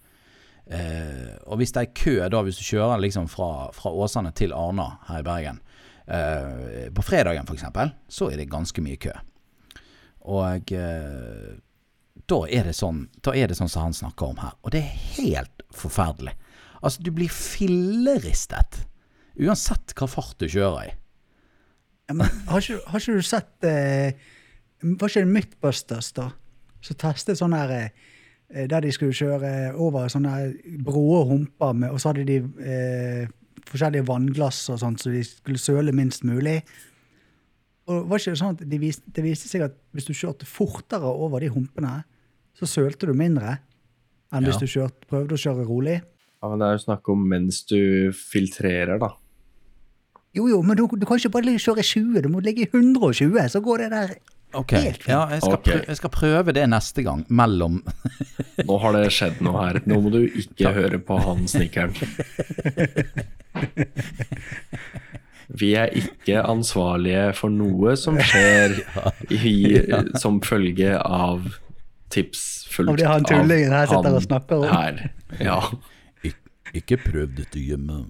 Eh, og hvis det er kø, da, hvis du kjører liksom fra, fra Åsane til Arna her i Bergen eh, På fredagen, f.eks., så er det ganske mye kø. Og eh, da er det sånn Da er det sånn som han snakker om her. Og det er helt forferdelig. Altså, du blir filleristet. Uansett hva fart du kjører i. Ja, men Har ikke, har ikke du sett eh, Var ikke det Mythbusters, da? Som testet sånn her eh, Der de skulle kjøre over sånne her brå humper, med, og så hadde de eh, forskjellige vannglass og sånt, så de skulle søle minst mulig. Og var ikke det sånn at de vis- Det viste seg at hvis du kjørte fortere over de humpene, så sølte du mindre enn Ja. hvis du kjørte, prøvde å kjøre rolig. Ja, men det er jo snakk om mens du filtrerer, da. Jo, jo, men du, du kan ikke bare ligge- kjøre 20, du må ligge i 120, så går det der Ok, Helt fint. ja, jeg, skal Ok. prø- jeg skal prøve det neste gang, mellom [LAUGHS] Nå har det skjedd noe her. Nå må du ikke høre på han snekkeren. Vi er ikke ansvarlige for noe som skjer i, som følge av tips fulgt Av det han tullingen her sitter han og snakker om. Her. Ja. Ik- Ikke prøv dette hjemme.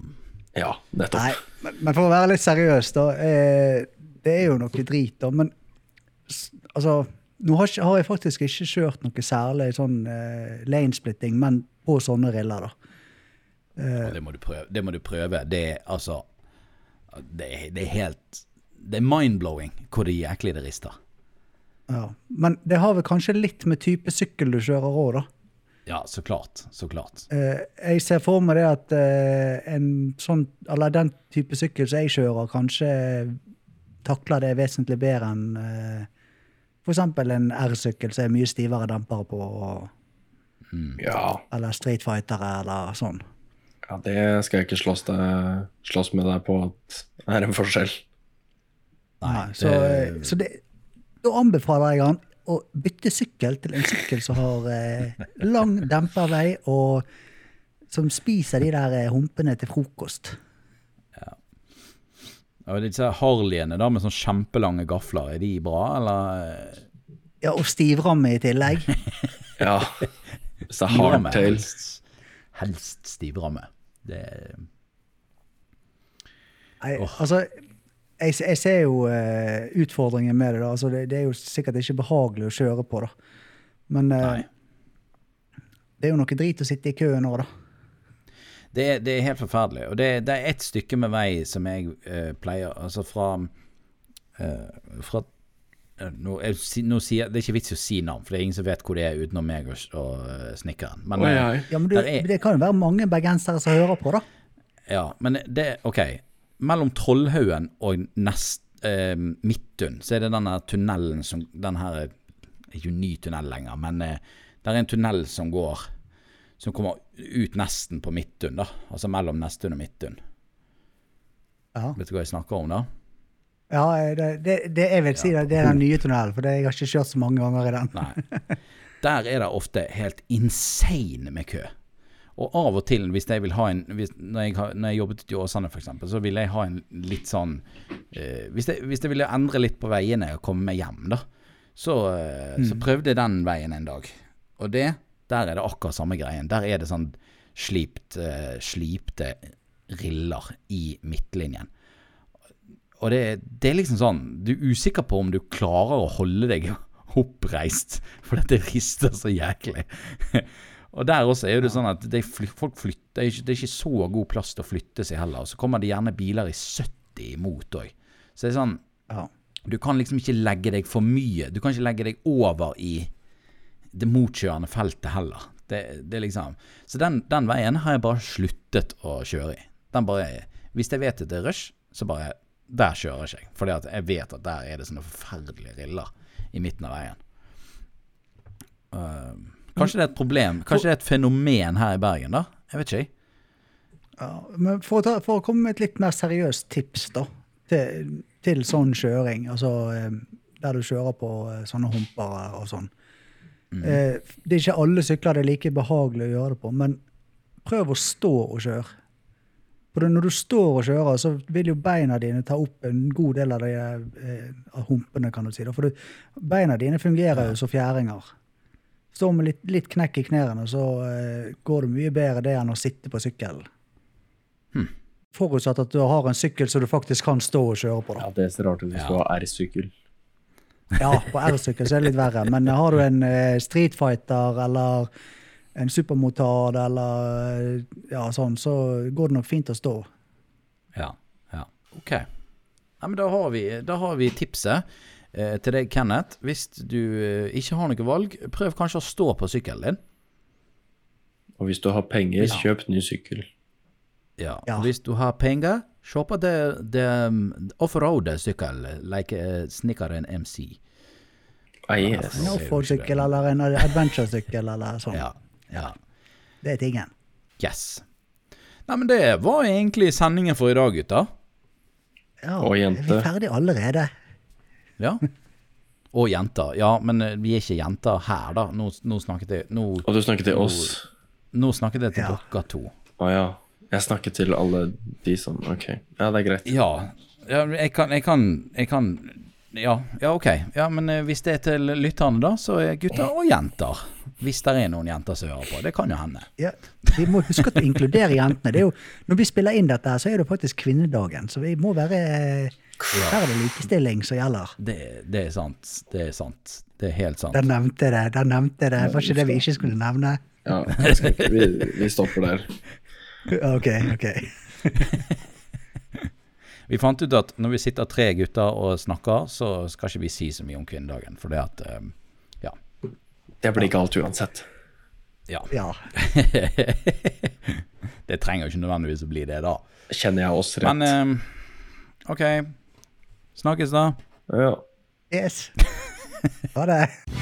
ja, Nei, nettopp. men, men for å være litt seriøs, da. Eh, det er jo noe drit, da. Men s- altså Nå har, ikke, har jeg faktisk ikke kjørt noe særlig sånn eh, lanesplitting, men på sånne riller, da. Ja, Det må du prøve. Det, må du prøve. det er altså det, er- det er helt Det er mind-blowing hvor det jæklig det rister. Ja. Men det har vel kanskje litt med type sykkel du kjører òg, da. Ja, så klart. Så klart. Eh, jeg ser for meg det at eh, en sånn, eller den type sykkel som jeg kjører, kanskje takler det vesentlig bedre enn eh, f.eks. en R-sykkel som er mye stivere dampere på, og, Ja. eller Street Fightere eller sånn. ja, det skal jeg ikke slåss, deg, slåss med deg på at det er en forskjell. Nei, Nei, så eh, så det, da anbefaler jeg han å bytte sykkel til en sykkel som har [LAUGHS] eh, lang dempervei, og som spiser de der eh, humpene til frokost. Og disse Harleyene da, med sånn kjempelange gafler, er de bra, eller? Ja, og stivramme i tillegg. [LAUGHS] Ja. Hvis det er Stivramme, hardtail Helst, helst stivramme. Det er Nei, altså, jeg, jeg ser jo eh, utfordringen med det. da. Altså, det, det er jo sikkert ikke behagelig å kjøre på, da. Men eh, Nei. det er jo noe drit å sitte i køen òg, da. Det, er- det er helt forferdelig. Og det, det er ett stykke med vei som jeg eh, pleier Altså fra, eh, fra eh, nå, jeg, si- nå sier, Det er ikke vits i å si navn, for det er ingen som vet hvor det er utenom meg og, s- og eh, snekkeren. Men, Oi, eh, oi. Ja, men du, Der er- Det kan jo være mange bergensere som hører på, da. Ja, men det OK. Mellom Trollhaugen og nest, eh, Midtun så er det denne tunnelen som Den her er ikke en ny tunnel lenger, men eh, det er en tunnel som går Som kommer ut nesten på Midtun, da. Altså mellom Nesttun og Midtun. Ja, Vet du hva jeg snakker om, da? ja det, det, det jeg vil si, det, det er den nye tunnelen, for det, jeg har ikke kjørt så mange ganger i den. Nei. Der er det ofte helt insane med kø. Og av og til, hvis jeg vil ha en hvis, når, jeg har, når jeg jobbet i Åsane f.eks., så ville jeg ha en litt sånn eh, hvis, jeg, hvis jeg ville endre litt på veiene og komme meg hjem, da, så, eh, så prøvde jeg den veien en dag. Og det, der er det akkurat samme greien. Der er det sånn slipt, eh, slipte riller i midtlinjen. Og det, det er liksom sånn Du er usikker på om du klarer å holde deg [LAUGHS] oppreist, for dette rister så jæklig. [LAUGHS] Og der også er jo det sånn at det er, fly- folk flytter, det er ikke- det er ikke så god plass til å flytte seg heller. Og så kommer det gjerne biler i 70 imot òg. Så det er sånn Ja. Du kan liksom ikke legge deg for mye. Du kan ikke legge deg over i det motkjørende feltet heller. Det, det er liksom Så den, den veien har jeg bare sluttet å kjøre i. Den bare Hvis jeg vet at det er rush, så bare Der kjører ikke jeg. For jeg vet at der er det sånne forferdelige riller i midten av veien. Ehm, kanskje det er et problem? Kanskje det er et fenomen her i Bergen, da? Jeg vet ikke. jeg. Ja, men for å, ta, for å komme med et litt mer seriøst tips da, til, til sånn kjøring, altså eh, der du kjører på eh, sånne humper og sånn. Eh, Det er ikke alle sykler det er like behagelig å gjøre det på, men prøv å stå og kjøre. For det- når du står og kjører, så vil jo beina dine ta opp en god del av de eh, av humpene, kan du si. da. For du, beina dine fungerer jo som fjæringer. Står med litt, litt knekk i knærne, så eh, går det mye bedre det enn å sitte på sykkelen. Forutsatt at du har en sykkel som du faktisk kan stå og kjøre på. da. Ja, det ser rart ut hvis du har R-sykkel. Ja, på R-sykkel så er det litt verre, men har du en eh, Street Fighter eller en supermotard eller eh, ja, sånn, så går det nok fint å stå. Ja. ja. Ok. Nei, men da har vi, da har vi tipset eh, til deg, Kenneth. Hvis du eh, ikke har noe valg, prøv kanskje å stå på sykkelen din. Og hvis du har penger, kjøp ny sykkel. Ja. Ja. Hvis du har penger, se på det, det um, offroad-sykkel, like eh, snekkeren MC. Nei, yes. En offroad-sykkel eller en adventure-sykkel eller sånn. Ja. ja. Det er tingen. Yes. Nei, men det var egentlig sendingen for i dag, gutter. Ja, Og Er jente. vi ferdig allerede? Ja. Og jenter. Ja, men eh, vi er ikke jenter her, da. Nå, nå snakket jeg nå, Og du snakker til oss. nå snakket jeg til Ja. dere to. Å ja. Jeg snakker til alle de som Ok. Ja, det er greit. Ja. ja men jeg, kan, jeg kan Jeg kan Ja, ja ok. Ja, men eh, hvis det er til lytterne, da, så er gutter og jenter. Hvis det er noen jenter som hører på. Det kan jo hende. Ja. Vi må huske å inkludere jentene. Det er jo, når vi spiller inn dette, her, så er det faktisk kvinnedagen. Så vi må være Her er det likestilling som gjelder. Det, det er sant. Det er sant. Det er helt sant. Der nevnte jeg det. Der nevnte jeg det. Var ikke det vi ikke skulle nevne? Ja, jeg skal ikke- vi, vi stopper der. Ok, ok. Vi fant ut at når vi sitter tre gutter og snakker, så skal ikke vi si så mye om kvinnedagen. For det at eh, Ja. [LAUGHS] Det blir ikke alt uansett. ja. Ja. det trenger jo ikke nødvendigvis å bli det, da. Kjenner jeg oss rett? Men eh, OK. Snakkes, da. ja. Yes. Ha det.